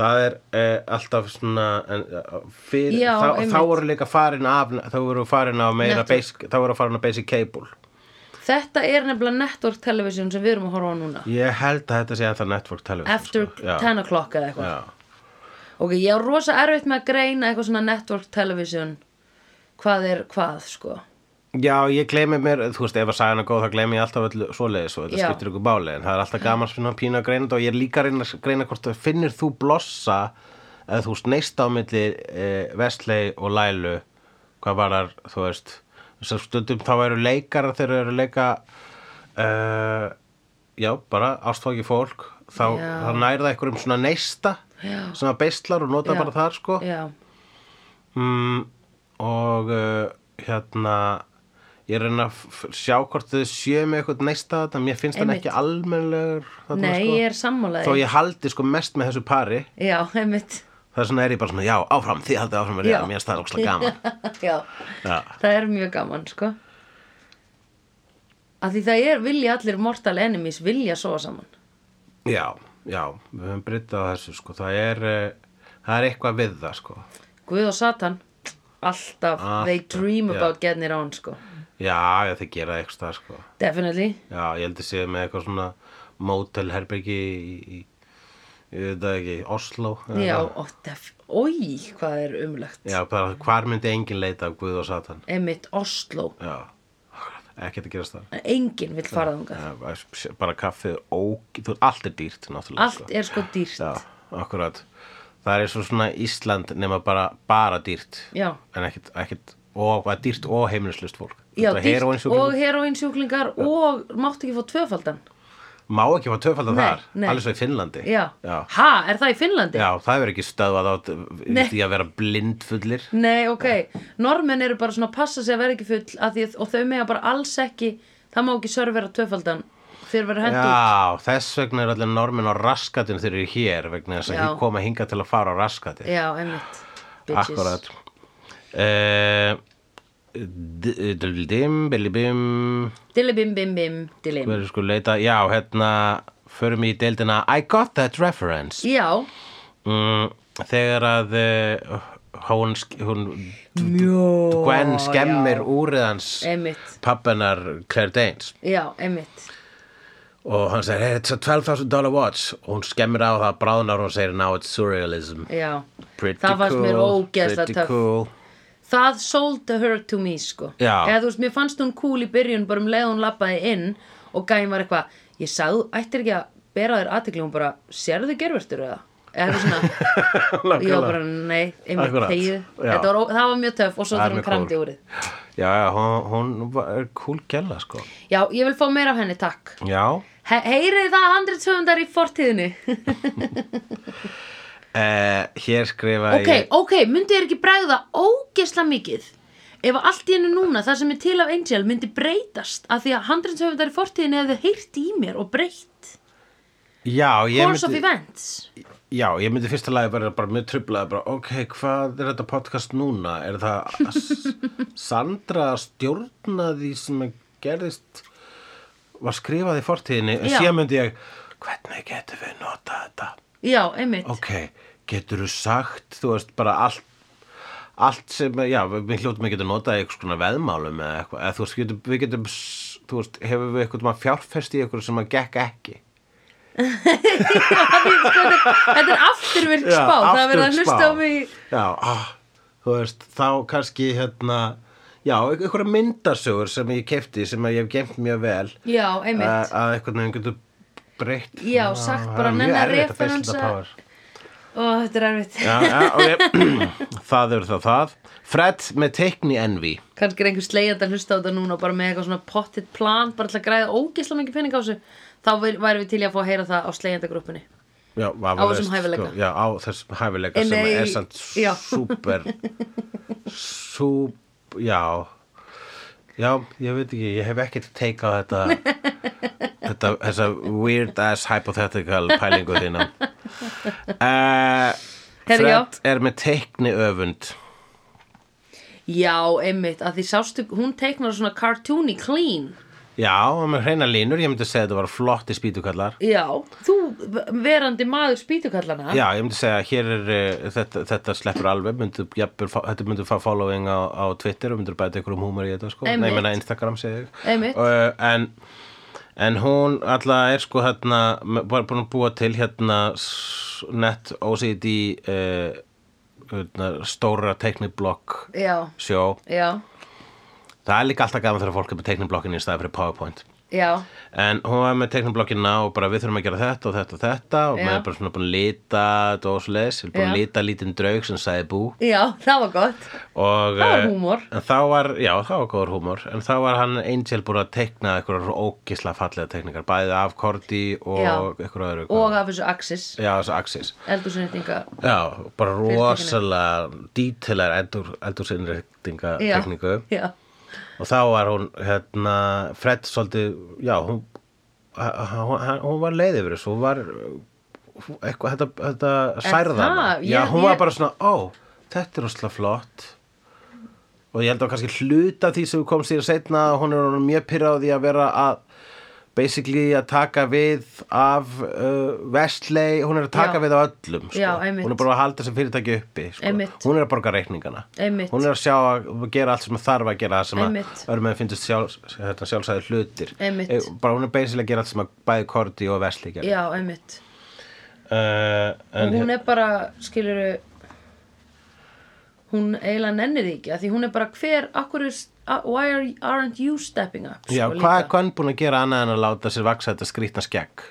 Speaker 2: það er uh, alltaf svona en, uh, fyrir,
Speaker 1: Já,
Speaker 2: þá,
Speaker 1: einmitt.
Speaker 2: þá voru líka farin af þá voru farin af meira
Speaker 1: Network.
Speaker 2: basic, þá voru farin af basic cable
Speaker 1: þetta er nefnilega network television sem við erum að horfa á núna
Speaker 2: ég held að þetta sé að það network television
Speaker 1: After
Speaker 2: sko. Já,
Speaker 1: 10 o'clock eða eitthvað
Speaker 2: já.
Speaker 1: Ok, ég á rosa erfitt með að greina eitthvað svona network television hvað er hvað, sko
Speaker 2: Já, ég gleymi mér, þú veist, ef að sagan er góð þá gleymi ég alltaf öllu svoleiðis og þetta
Speaker 1: Já.
Speaker 2: skiptir ykkur báli en það er alltaf gaman svona pínu að greina þetta og ég er líka að reyna að greina hvort þú finnir þú blossa eða þú veist neist á milli e, Vesley og Lælu hvað var þar, þú veist þess að stundum þá eru leikara þegar þau eru að leika e, já, bara ástfóki fólk þá,
Speaker 1: Já.
Speaker 2: þá nærða ykkur um svona neista
Speaker 1: Já.
Speaker 2: sem að beislar og nota
Speaker 1: Já.
Speaker 2: bara þar sko
Speaker 1: Já,
Speaker 2: mm, og uh, hérna ég er að reyna að f- f- sjá hvort þau séu með eitthvað næsta þetta, mér finnst hann
Speaker 1: Einmitt.
Speaker 2: ekki almennlegur þarna,
Speaker 1: nei,
Speaker 2: sko.
Speaker 1: ég er sammálaði
Speaker 2: þó ég haldi sko mest með þessu pari
Speaker 1: Já, einmitt
Speaker 2: það er svona er ég bara svona, já, áfram, þið haldið áfram að
Speaker 1: Já.
Speaker 2: reyna, mér finnst það ókslega gaman
Speaker 1: Já,
Speaker 2: Já.
Speaker 1: það er mjög gaman, sko að því það er vilja allir mortal enemies vilja sofa saman
Speaker 2: já, já, við höfum bryttað á þessu sko, það er uh, það er eitthvað við það sko
Speaker 1: Guð og Satan, alltaf, they
Speaker 2: Alltaf,
Speaker 1: dream
Speaker 2: já.
Speaker 1: about getting it on, sko
Speaker 2: já, já, þið gera það eitthvað sko
Speaker 1: Definitely
Speaker 2: já, ég held að séu með eitthvað svona mótelherbergi í, í, í, ég veit það ekki, Oslo eða
Speaker 1: Já,
Speaker 2: eitthvað.
Speaker 1: og def, oj, hvað er umlegt
Speaker 2: Já, bara hvar myndi enginn leita af Guð og Satan?
Speaker 1: Einmitt Oslo,
Speaker 2: Já, ekkert að gerast það.
Speaker 1: en enginn vill fara þangað
Speaker 2: Já, bara- bara kaffið og þú, allt er dýrt náttúrulega.
Speaker 1: Allt er sko dýrt
Speaker 2: Já, akkurat. Það er svo svona Ísland nema bara, bara dýrt.
Speaker 1: Já.
Speaker 2: En ekkert, ekkert, og bara dýrt og heimilislust fólk.
Speaker 1: Já,
Speaker 2: Þetta
Speaker 1: dýrt
Speaker 2: heroínsjúklingar
Speaker 1: og heroinsjúklingar og máttu ekki fá tvöfaldan
Speaker 2: Má ekki fá töfaldan
Speaker 1: Nei,
Speaker 2: þar,
Speaker 1: nei.
Speaker 2: alveg svo í Finnlandi.
Speaker 1: Já.
Speaker 2: Já,
Speaker 1: Ha, er það í Finnlandi?
Speaker 2: Já, það hefur ekki stöðvað á
Speaker 1: Nei.
Speaker 2: því að vera blindfullir.
Speaker 1: Nei, ok, normenn eru bara svona að passa sig að vera ekki full að því, og þau mega bara alls ekki það má ekki servera tvöfaldan þeir vera hendt út
Speaker 2: Já, þess vegna er allir normin á raskatinn þegar þeir eru hér vegna þess að
Speaker 1: Já.
Speaker 2: þeir koma hinga til að fara á raskatinn
Speaker 1: Já, einmitt Bitches.
Speaker 2: Akkurat uh, Dim, billi bim
Speaker 1: Dilli bim bim bim, dilli
Speaker 2: Hver er sko leita Já, hérna, förum í deildina I got that reference
Speaker 1: Já,
Speaker 2: mm, Þegar að uh, hún, sk- hún
Speaker 1: mjó
Speaker 2: Gwen skemmir úrið hans
Speaker 1: Einmitt,
Speaker 2: pappenar Claire Danes
Speaker 1: já, einmitt
Speaker 2: og hann segir, hey, it's a $12,000 watch og hún skemmir á það bráðnar og hún segir, now it's surrealism
Speaker 1: Já,
Speaker 2: Pretty
Speaker 1: það fannst
Speaker 2: cool,
Speaker 1: mér ógeðslega
Speaker 2: pretty
Speaker 1: töff
Speaker 2: cool.
Speaker 1: Það sold her to me sko
Speaker 2: Já.
Speaker 1: Eða þú veist, mér fannst hún cool í byrjun bara um leið og hún labbaði inn og gæm var eitthvað Ég sagði, ættir ekki að bera þér aðtekli hún bara, sérðu gervertur eða? Eða eitthvað svona Ég var bara, nei, einmitt
Speaker 2: Akkurat.
Speaker 1: þegið
Speaker 2: Já.
Speaker 1: Þetta var, ó- Það var mjög töff og svo
Speaker 2: Það er
Speaker 1: þurfum
Speaker 2: mjög
Speaker 1: kramdi
Speaker 2: cool.
Speaker 1: úr þið
Speaker 2: Já, já, hún, hún var- er cool gæla, sko.
Speaker 1: Já, ég vil fá meira af henni, takk
Speaker 2: Já.
Speaker 1: He Heyrið það handritsöfundar í fortíðinu
Speaker 2: Uh, hér skrifa
Speaker 1: Ok,
Speaker 2: ég...
Speaker 1: ok, myndi þér ekki bregða ógesla mikið ef að allt í hennu núna það sem er til af Angel myndi breytast af því að handrinsöfundar í fortíðinu hefðu heyrt í mér og breytt
Speaker 2: Já, ég
Speaker 1: Course of
Speaker 2: myndi,
Speaker 1: Events
Speaker 2: já, ég myndi fyrsta lagi bara, bara mjög trublaði, bara, ok, hvað er þetta podcast núna? Er það s- Sandra stjórnaði sem að gerðist, var skrifað í fortíðinni, en
Speaker 1: Já.
Speaker 2: síðan myndi ég, hvernig getum við notað þetta?
Speaker 1: Já, einmitt
Speaker 2: Ok, getur þú sagt, þú veist, bara allt, allt sem, já, við við hljótum að geta notað í einhvers konar veðmálum eða eitthvað, eða þú veist, getum, við getum, s- þú veist, hefur við eitthvað maður fjárfest í eitthvað sem að gekk ekki.
Speaker 1: Þetta er afturvirk spá, það er verið að
Speaker 2: afturspá.
Speaker 1: hlusta á mig í-
Speaker 2: Já, ah, þú veist, þá kannski, hérna, já, einhverja myndasögur sem ég kefti, sem að ég hef gemt mjög vel, eh,
Speaker 1: Já,
Speaker 2: að,
Speaker 1: einmitt
Speaker 2: að eitthvað nefnum getur breytt.
Speaker 1: Já, sagt bara, nenna referensa-
Speaker 2: referensa.
Speaker 1: og þetta er erfitt
Speaker 2: já, já, ok það eru það það Fred með teikni envi
Speaker 1: kannski er einhver slegjandi að hlusta á þetta núna og bara með eitthvað svona pottitt plan bara til að græða ógisla mikið pening á þessu þá væ- væri við til í að fá að heyra það á slegjandagrúppunni
Speaker 2: já, á
Speaker 1: þessum hæfileika.
Speaker 2: já, á þessum hæfileika
Speaker 1: Eh,
Speaker 2: sem
Speaker 1: nei,
Speaker 2: er samt
Speaker 1: já.
Speaker 2: súper súp, já já, ég veit ekki ég hef ekkert teika á þetta þetta, þessa weird ass hypothetical pælingu þína uh,
Speaker 1: Herri, já.
Speaker 2: Fred er með teikni öfund
Speaker 1: já, einmitt, að því sástu hún teiknar svona cartoony clean
Speaker 2: já, og með hreina línur, ég myndi segja að þetta var flotti spýtukallar
Speaker 1: já, þú verandi maður spýtukallana
Speaker 2: Já, ég myndi segja að hér er eh, þetta, þetta sleppur alveg, myndu, jafnvel, fá- þetta myndu fá following á, á Twitter og myndur bæta ykkur um húmur í þetta sko,
Speaker 1: Einmitt.
Speaker 2: nei, ég meina Instagram segja ég
Speaker 1: Einmitt.
Speaker 2: uh, en, en hún alltaf er sko hérna m- bara búin að búa til hérna s- net OCD uh, hérna, stóra teikniblokk
Speaker 1: já,
Speaker 2: sjó,
Speaker 1: já,
Speaker 2: það er líka alltaf gaman þegar fólk er með teikniblokkinni í staði fyrir PowerPoint
Speaker 1: já,
Speaker 2: En hún var með teknoblokkina og bara við þurfum að gera þetta og þetta og þetta og
Speaker 1: Já.
Speaker 2: maður er bara svona búin að lita þetta og svoleiðis, er búin að
Speaker 1: Já.
Speaker 2: lita lítinn draug sem sagði bú
Speaker 1: já, það var gott
Speaker 2: og
Speaker 1: Það var
Speaker 2: eh,
Speaker 1: húmor.
Speaker 2: en þá var, já það var góður húmor en þá var hann Angel búin að tekna einhverjar ógisla fallega tekningar, bæði af Korti og
Speaker 1: Já.
Speaker 2: einhverju öðru
Speaker 1: og af þessu Axis,
Speaker 2: já, þessu Axis
Speaker 1: eldursunnitinga
Speaker 2: já, bara
Speaker 1: tekningu.
Speaker 2: rosalega dítilar eldur, eldursinnrektinga
Speaker 1: já,
Speaker 2: tekningu
Speaker 1: já,
Speaker 2: og þá var hún hérna, Fred svolítið já, hún, hún, hún var leið yfir þessu hún var hún- eitthvað, þetta, þetta særða hana.
Speaker 1: það?
Speaker 2: já,
Speaker 1: Ég-
Speaker 2: hún var
Speaker 1: ég-
Speaker 2: bara svona, ó, þetta er rosalega flott og ég held að kannski hluta því sem kom sér setna hún er orðin mjög pyrráði að vera að basically að taka við af uh, Vestley hún er að taka
Speaker 1: Já.
Speaker 2: við af öllum sko.
Speaker 1: Já, einmitt.
Speaker 2: hún er bara að halda þessum fyrirtæki uppi sko.
Speaker 1: Einmitt.
Speaker 2: hún er að borga reikningana
Speaker 1: Einmitt.
Speaker 2: hún er að sjá að gera allt sem þarf að gera það sem
Speaker 1: Einmitt.
Speaker 2: sem að örmenn finnst sjálf, hérna, sjálfsæði hlutir
Speaker 1: Einmitt.
Speaker 2: Eh, bara hún er beinsilega að gera allt sem að bæði Korti og Vesli gera
Speaker 1: já, einmitt
Speaker 2: uh,
Speaker 1: og
Speaker 2: en
Speaker 1: hún er bara, skiluru hún eiginlega nennir því ekki af því hún er bara hver, akkur er why are, aren't you stepping up sko,
Speaker 2: já, hvað er Kvann búin að gera annað en að láta sér vaksa þetta skrýtna skegg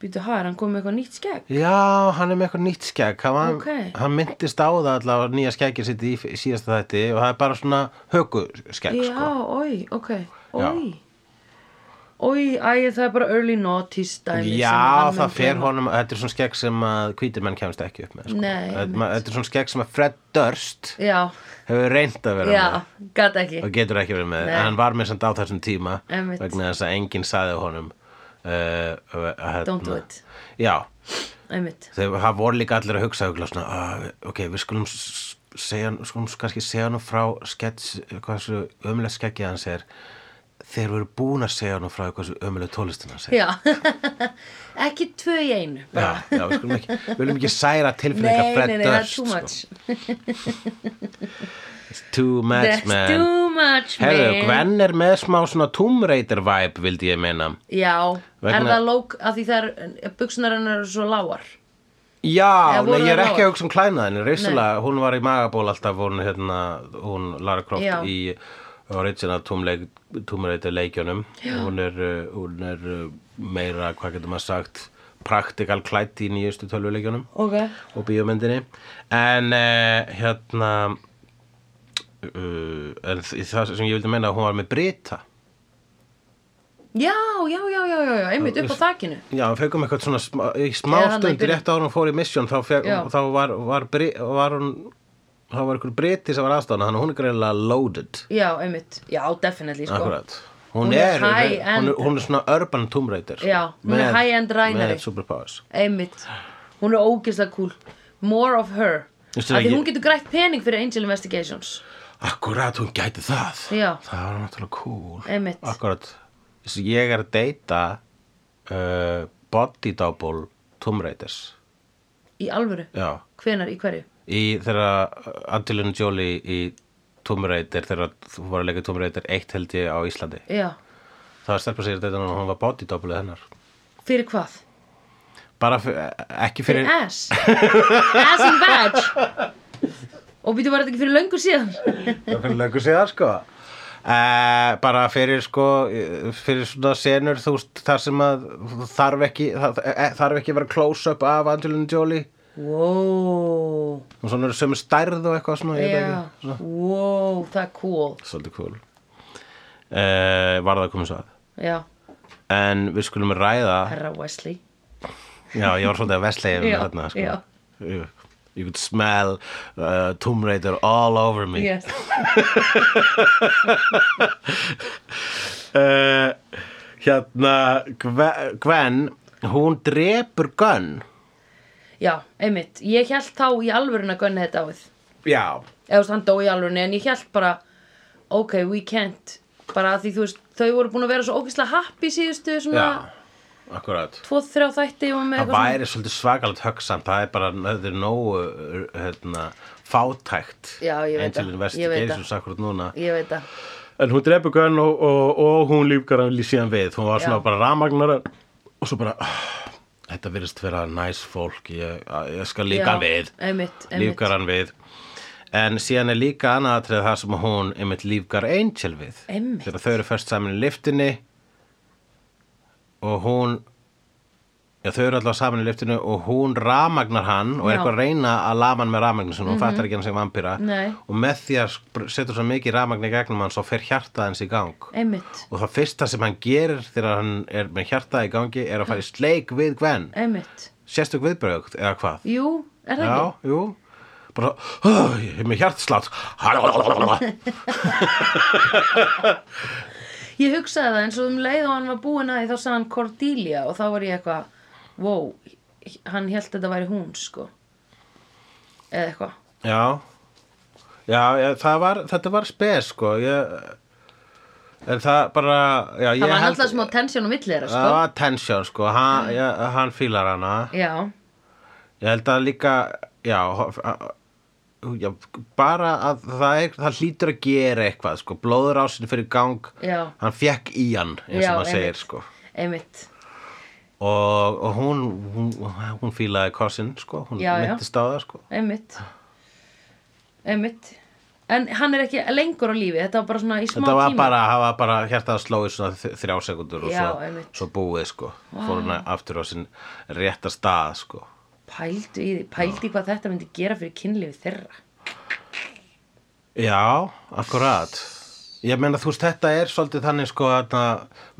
Speaker 1: býtu hæ, er hann komið með eitthvað nýtt skegg
Speaker 2: já, hann er með eitthvað nýtt skegg hann, var-
Speaker 1: Ókei.
Speaker 2: hann myndist á það allavega nýja skeggir sitt í í síðasta þætti og það er bara svona högu skegg
Speaker 1: já,
Speaker 2: sko.
Speaker 1: oi, ok,
Speaker 2: Já.
Speaker 1: oi oi, æ, það er bara early noughties dæmi sem
Speaker 2: Já,
Speaker 1: hann
Speaker 2: það
Speaker 1: mun
Speaker 2: fer
Speaker 1: gleyma.
Speaker 2: honum, þetta er svona skegg sem að hvítir menn kemst ekki upp með sko.
Speaker 1: Nei,
Speaker 2: þetta,
Speaker 1: einmitt.
Speaker 2: þetta er svona skegg sem að Fred Durst
Speaker 1: já,
Speaker 2: hefur reynd að vera
Speaker 1: já,
Speaker 2: með
Speaker 1: gat ekki
Speaker 2: og getur ekki verið með
Speaker 1: Nei.
Speaker 2: en hann var með samt á þessum tíma
Speaker 1: Einmitt.
Speaker 2: vegna þess að enginn saði honum uh, uh, hérna,
Speaker 1: don't do it,
Speaker 2: já,
Speaker 1: einmitt
Speaker 2: þegar það voru líka allir að hugsa hugla, svona, uh, ok, við skulum s- segja, skulum kannski segja hann frá skets, hvað svo ömulega skeggið hans er þeir voru búin að segja hann frá hvað svo ömulega tólestin hans er
Speaker 1: já, ekki tvö í einu
Speaker 2: já,
Speaker 1: bara.
Speaker 2: já, við skulum ekki, við viljum ekki særa tilfinninga
Speaker 1: nei, nei, nei, það er too much
Speaker 2: sko. too much
Speaker 1: that's
Speaker 2: man
Speaker 1: too much, man
Speaker 2: Herðu, Gwen er með smá svona Tomb Raider vibe, vildi ég meina.
Speaker 1: Já, er
Speaker 2: Vegna-
Speaker 1: það lók að því það er, buksunar hennar eru svo lágar
Speaker 2: Já,
Speaker 1: Eða voru
Speaker 2: nei, ég er
Speaker 1: þær
Speaker 2: ekki að
Speaker 1: lágar?
Speaker 2: hugsa um klænaðin Reisulega, hún var í magaból alltaf hún, hérna, hún Lara Croft
Speaker 1: Já.
Speaker 2: í original túmreita leikjunum hún er, uh, hún er uh, meira, hvað getur maður sagt praktikal klætt í nýjustu tölvuleikjunum
Speaker 1: Ok
Speaker 2: og bíómyndinni en uh, hérna uh, en þ- það sem ég vildi meina að hún var með Brita
Speaker 1: Já, já, já, já, já, já, einmitt upp á þakinu
Speaker 2: Já, við fegum eitthvað svona smá, í smá
Speaker 1: Eða hann að
Speaker 2: stund
Speaker 1: byrja.
Speaker 2: rétt á hún fór í misjón þá, feg,
Speaker 1: Já.
Speaker 2: þá var, var, bri, var hún þá var einhver briti sem var aðstofna þannig að hún er greiðlega loaded
Speaker 1: Já, einmitt, já, definitely, sko
Speaker 2: akkurat hún,
Speaker 1: Hún er
Speaker 2: er,
Speaker 1: high-end.
Speaker 2: hún, er, hún er svona urban Tomb Raider sko,
Speaker 1: Já, hún er
Speaker 2: með-
Speaker 1: high-end rænari.
Speaker 2: með superpowers
Speaker 1: Einmitt, hún er ógeðslega cool More of her
Speaker 2: Veistu
Speaker 1: Af
Speaker 2: það,
Speaker 1: því
Speaker 2: ég-
Speaker 1: hún getur grætt pening fyrir Angel Investigations
Speaker 2: akkurat, hún gæti það
Speaker 1: Já.
Speaker 2: það var náttúrulega cool
Speaker 1: Einmitt.
Speaker 2: akkurat, Þessi, ég er að deyta uh, body double Tomb Raiders
Speaker 1: Í alvöru,
Speaker 2: já
Speaker 1: hvenar, í hverju
Speaker 2: í þegar Angelina Jolie í Tomb Raider þegar þú var að leika í Tomb Raider 1 held ég á Íslandi
Speaker 1: Já,
Speaker 2: það var stelpa sér þetta og hún var body double hennar
Speaker 1: fyrir hvað?
Speaker 2: bara fyr, ekki
Speaker 1: Fyrir
Speaker 2: fyrir
Speaker 1: ass Ass and badge Og býtu var þetta ekki fyrir löngu síðan
Speaker 2: það fyrir löngu síðar sko Eh, bara fyrir sko fyrir svona senur þú veist þar sem að þarf ekki það, eh, þarf ekki að vera close-up af Angelina Jolie
Speaker 1: wow,
Speaker 2: og svona eru sömu stærð og eitthvað svona, ég veit
Speaker 1: já,
Speaker 2: ekki svona,
Speaker 1: wow, það er cool
Speaker 2: svolítið cool uh, var það að koma svo að
Speaker 1: já,
Speaker 2: en við skulum ræða
Speaker 1: herra Wesley
Speaker 2: já, ég var svolítið að veslega
Speaker 1: Já,
Speaker 2: yfir þarna sko.
Speaker 1: já.
Speaker 2: you, you could smell uh, Tomb Raider all over me
Speaker 1: yes.
Speaker 2: Eh, hérna Gwe- Gwen, hún drepur Gunn
Speaker 1: já, einmitt, ég held þá í alvörun að gunna þetta á þið
Speaker 2: já,
Speaker 1: eða þú veist, hann dó í alvörunni en ég held bara ok, we can't bara að því þú veist, þau voru búin að vera svo ógeðslega happy síðustu svona
Speaker 2: já akkurat
Speaker 1: tvo, þrjá þætti og með
Speaker 2: það væri svolítið svakalegt högsamt það er bara nöður nógu hérna, fátækt
Speaker 1: Já, ég veit
Speaker 2: Angelina
Speaker 1: það,
Speaker 2: Vesti
Speaker 1: ég veit
Speaker 2: Geirsus akkurat núna
Speaker 1: svona ég veit það,
Speaker 2: en hún drepur Gunn og, og, og hún lífgar hann síðan við hún var
Speaker 1: Já.
Speaker 2: svona bara ramagnar og svo bara "Ah, þetta virðist vera næs fólk ég, ég skal líka
Speaker 1: Já,
Speaker 2: við
Speaker 1: einmitt, einmitt.
Speaker 2: lífgar hann við en síðan er líka annað atrið það sem hún einmitt lífgar Angel við
Speaker 1: Einmitt.
Speaker 2: þegar þau eru fyrst saman í liftinni og hún Já, þau eru allavega saman í liftinu og hún ramagnar hann og
Speaker 1: Já. Mhm.
Speaker 2: er eitthvað að reyna að lama hann með ramagnar sem hún fattar ekki hann sem vampýra
Speaker 1: Nei.
Speaker 2: og með því að spr- setur svo mikið ramagn í gegnum hann svo fer hjartað hans í gang
Speaker 1: einmitt,
Speaker 2: og það fyrsta sem hann gerir þegar hann er með hjartað í gangi er að fara í sleik við Gwen
Speaker 1: einmitt
Speaker 2: sérstök viðbrögt eða hvað
Speaker 1: jú, er það
Speaker 2: já,
Speaker 1: ekki?
Speaker 2: jú bara, "Ó, ég er með hjartslátt
Speaker 1: ég hugsaði það eins og um leið og hann var búin að því þá sagði hann Cordelia og þá var ég eitthvað wow, hann held þetta væri hún sko eða eitthvað
Speaker 2: já já, já það var, þetta var spes sko ég, en það bara já,
Speaker 1: það var alltaf smá tensjón á milli þeirra
Speaker 2: það
Speaker 1: sko Mm.
Speaker 2: var tension sko hann, já, hann fílar hana
Speaker 1: já,
Speaker 2: Ég held að líka, já, ho- a- já bara að það, er, það hlýtur að gera eitthvað, sko, blóðurásin fyrir gang,
Speaker 1: Já.
Speaker 2: hann fekk í hann, eins
Speaker 1: Já,
Speaker 2: og maður segir,
Speaker 1: einmitt.
Speaker 2: sko.
Speaker 1: einmitt
Speaker 2: Og, og hún, hún, hún fílaði kossinn, sko, hún
Speaker 1: Já, já.
Speaker 2: myndist á það, sko.
Speaker 1: einmitt einmitt en hann er ekki lengur á lífi þetta var bara svona í smá
Speaker 2: Þetta var
Speaker 1: tíma
Speaker 2: bara, það var bara hjartað að slói svona þ- þrjá sekundur og
Speaker 1: Já,
Speaker 2: svo,
Speaker 1: einmitt.
Speaker 2: svo búið, sko. Fór hún aftur á sinn rétta stað, sko.
Speaker 1: pældu í, því- pældu í hvað þetta myndi gera fyrir kynlífi þeirra
Speaker 2: Já, akkurat Ég meina þú veist þetta er svolítið þannig sko þarna,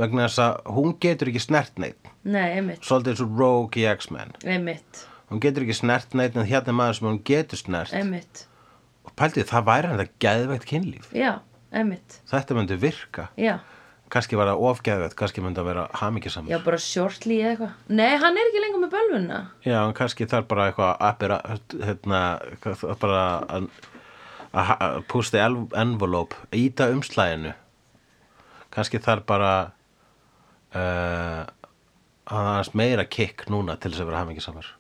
Speaker 2: vegna þess að hún getur ekki snert neitt
Speaker 1: nei, einmitt,
Speaker 2: svolítið eins og Rogue í X-Men
Speaker 1: einmitt,
Speaker 2: hún getur ekki snert neitt en hérna er maður sem hún getur snert
Speaker 1: einmitt
Speaker 2: og pældið það væri hann þetta geðveikt kynlíf
Speaker 1: já, einmitt,
Speaker 2: þetta myndi virka
Speaker 1: já
Speaker 2: kannski var það ofgeðveikt, kannski myndi að vera
Speaker 1: já,
Speaker 2: hamingisamur
Speaker 1: bara shortly eða eitthvað nei, hann er ekki lengur með bölvuna
Speaker 2: Já, en kannski þarf bara eitthvað að bera, hérna, hvað- bara að- að að pústi envelope, íta umslæðinu. Kannski þarf bara uh, að aðeins meira kikk núna til þess að vera hamingisamur.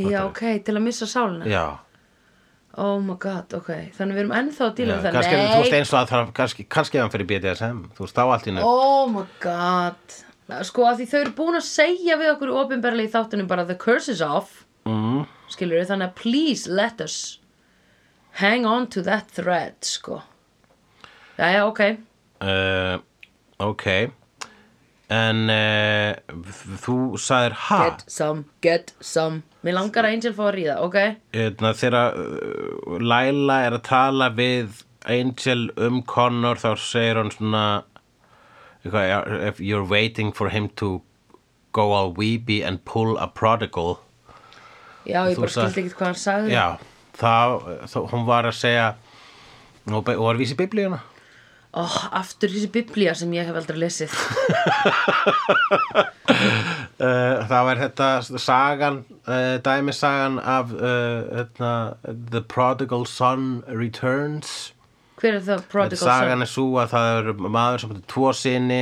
Speaker 1: já, ok, til að missa sálina
Speaker 2: Já,
Speaker 1: oh my god, ok, þannig við erum ennþá að
Speaker 2: já
Speaker 1: díla við
Speaker 2: kannski, þú
Speaker 1: það,
Speaker 2: veist eins og að þarf, kannski, kannski ef hann fyrir BDSM, þú veist þá allt í
Speaker 1: nei,
Speaker 2: nöfn.
Speaker 1: oh my god sko, að því þau eru búin að segja við okkur ofinberlega í þáttunum bara the curse is off
Speaker 2: Mm,
Speaker 1: skilur við, þannig að please let us hang on to that thread sko jæja, ok,
Speaker 2: uh, ok, en uh, þú sagðir ha?
Speaker 1: get some, get some mér langar að Angel fá að ríða, ok
Speaker 2: hérna, þegar uh, Laila er að tala við Angel um Connor þá segir hann svona eitthvað, if you're waiting for him to go all weepy and pull a prodigal
Speaker 1: já, ég
Speaker 2: Þú
Speaker 1: bara
Speaker 2: sagði-
Speaker 1: skildi ekkert hvað hann sagði
Speaker 2: já, þá, þá hún var að segja og be- og var að vísa í biblíuna
Speaker 1: Ó, Oh, aftur þessi biblía sem ég hef aldrei lesið
Speaker 2: Uh, það var þetta sagan, uh, dæmisagan af uh, hérna, The Prodigal Son Returns
Speaker 1: hver er það
Speaker 2: Þetta
Speaker 1: prodigal
Speaker 2: sagan
Speaker 1: son
Speaker 2: er svo að það er maður sem átti tvo sinni,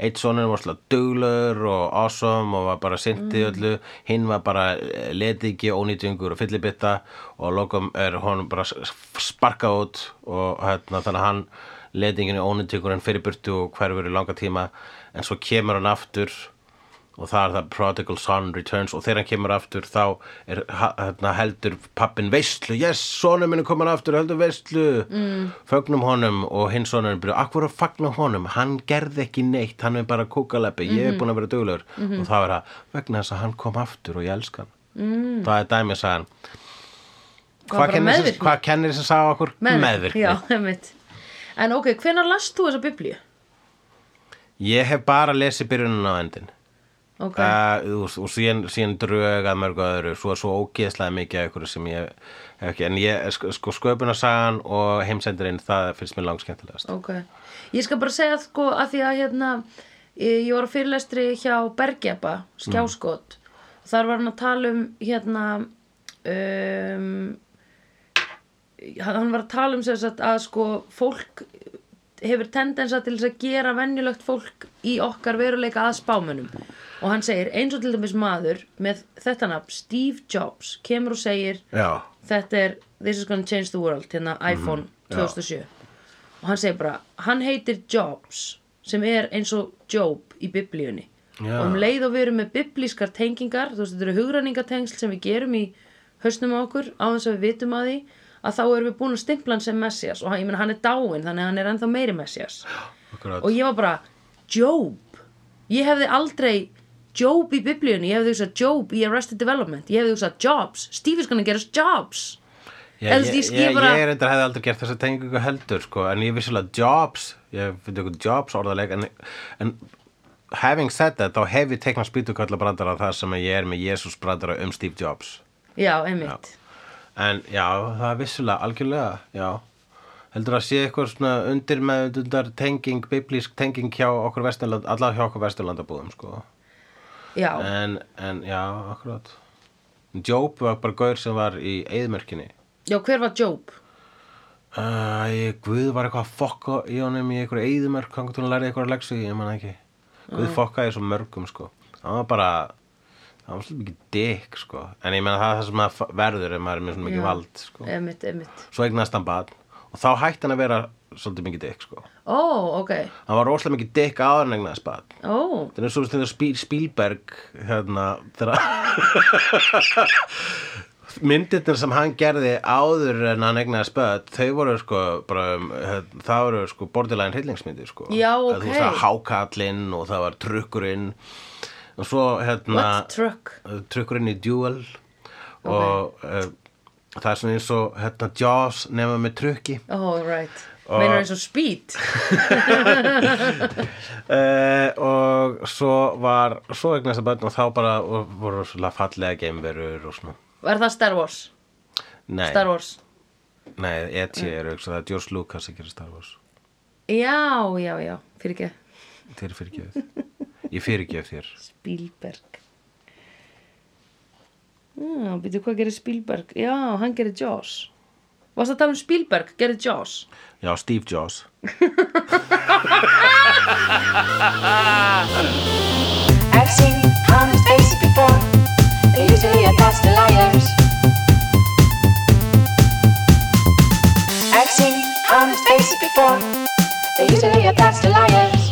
Speaker 2: eitt sonur var slá duglur og awesome og var bara
Speaker 1: Mm.
Speaker 2: sintið öllu, hinn var bara letingi, ónýtingur og fyllibitta og að lokum er honum bara s- sparkað út og hérna, þannig að hann letingin og ónýtingurinn fyrir burtu og hverfur í langa tíma en svo kemur hann aftur og það er það Prodigal Son Returns og þegar hann kemur aftur þá er, ha- hérna, heldur pappin veistlu yes, sonum minn er komin aftur, heldur veistlu mm. fögnum honum og hinn sonurinn byrja, akkur að fagna honum hann gerði ekki neitt, hann er bara kúkaleppi ég
Speaker 1: Mhm.
Speaker 2: er búin að vera duglegur og þá er það vegna þess að hann kom aftur og ég elska hann mm. það er dæmið sagan
Speaker 1: Var bara
Speaker 2: hvað kennir,
Speaker 1: meðvirkni.
Speaker 2: þessi- hvað kennir þess að sagði okkur?
Speaker 1: Já, einmitt. En ok, hvenær last þú þessa biblíu?
Speaker 2: ég hef bara lesið byrjunum á endin
Speaker 1: Ok,
Speaker 2: Eh, okay. og, og síðan, síðan drög að mörgu öðru svo er svo ógeðslega mikið af ykkur sem ég hef ekki, en ég, sko, sko sköpunarsagan og heimsendurinn, það finnst mér langskemmtilegast
Speaker 1: ok. Ég skal bara segja sko að því að hérna, ég ég var á fyrirlestri hjá Bergjaba, skjáskot. Þar var hann að tala um hérna, um, hann hann var að tala um sem sagt að sko fólk hefur tendensa til þess að gera venjulegt fólk í okkar veruleika að spámunum og hann segir eins og til dæmis maður með þetta nafn Steve Jobs kemur og segir
Speaker 2: Já,
Speaker 1: þetta er This is gonna change the world hérna iPhone 2007 og hann segir bara, hann heitir Jobs sem er eins og Job í biblíunni
Speaker 2: Já.
Speaker 1: og um leið og við erum með biblískar tengingar þú veist, þetta eru hugræningatengsl sem við gerum í hausnum á okkur á þess að við vitum að því að þá erum við búin að stimpla hann sem Messias og hann, ég meina hann er dáin þannig að hann er ennþá meiri Messias
Speaker 2: akkurat
Speaker 1: og ég var bara, Job ég hefði aldrei Job í biblíunni, ég hefði hugsað Job í Arrested Development, ég hefði hugsað Jobs Steve is gonna get us Jobs
Speaker 2: Ég,
Speaker 1: eða þú veist,
Speaker 2: ég,
Speaker 1: ég
Speaker 2: ég,
Speaker 1: skil
Speaker 2: ég,
Speaker 1: bara-
Speaker 2: ég reyndar hefði aldrei gert þess að tengja ykkur heldur sko, en ég vissulega jobs ég finnst ykkur jobs orðaleg en, en having said that þá hef ég teknað spýtukalla brandara þar sem ég er með Jesus brandara um Steve Jobs
Speaker 1: Já, einmitt.
Speaker 2: En já, það er vissulega, algjörlega, já. Heldur að sé eitthvað svona undir með undar tenging, biblísk tenging hjá okkur vesturland, allar hjá okkur vesturlandabúðum, sko.
Speaker 1: Já,
Speaker 2: En, en já, akkurat. Job var bara gaur sem var í eðmörkinni.
Speaker 1: já, hver var Job?
Speaker 2: Æ, Guð var eitthvað að fokka í honum í einhverju eðmörk, hann gott hún lærið eitthvað að legsu í, ég man það ekki. Guð fokkaði svo mörgum, sko. Hann var bara, hann var svolítið mikið dikk, sko. En ég menna það er það sem maður verður ef maður er með svona mikið
Speaker 1: Já.
Speaker 2: vald, sko.
Speaker 1: Einmitt, einmitt.
Speaker 2: svo eignast hann barn og þá hætti hann að vera svolítið mikið dikk sko.
Speaker 1: Ó, ok.
Speaker 2: hann var rosalega mikið dikk áður en eignast barn
Speaker 1: Ó,
Speaker 2: þannig er svo stundar Spíl, Spílberg hérna þegar myndirnir sem hann gerði áður en hann egnaði spöð þau voru sko bara, um, hérna, það voru sko borderline hryllingsmyndir sko
Speaker 1: Já,
Speaker 2: Eða þú
Speaker 1: ok.
Speaker 2: veist það hákallinn og það var trukkurinn og svo hérna
Speaker 1: what truck?
Speaker 2: trukkurinn í Duel og uh, það er svona eins og hérna Jaws nema með trukki
Speaker 1: Ó, right. Meinar eins og speed?
Speaker 2: uh, og svo var svo eignast að börn og þá bara og voru svona fallega geimverur og svona
Speaker 1: Var það Star Wars?
Speaker 2: nei,
Speaker 1: Star Wars. Mm.
Speaker 2: nei E.T. er auksa það er George Lucas að gera Star Wars
Speaker 1: Já, já, já, fyrir ekki.
Speaker 2: þér er fyrirgefið ég fyrirgef þér
Speaker 1: Spielberg. Já, býtu hvað gerir Spielberg? Já, hann gerir Jaws. Varst að tala um Spielberg, gerir Jaws?
Speaker 2: já, Steve Jaws
Speaker 3: I've seen honest faces before. They're usually a pass to liars. I've seen honest faces before. They're usually a pass to liars.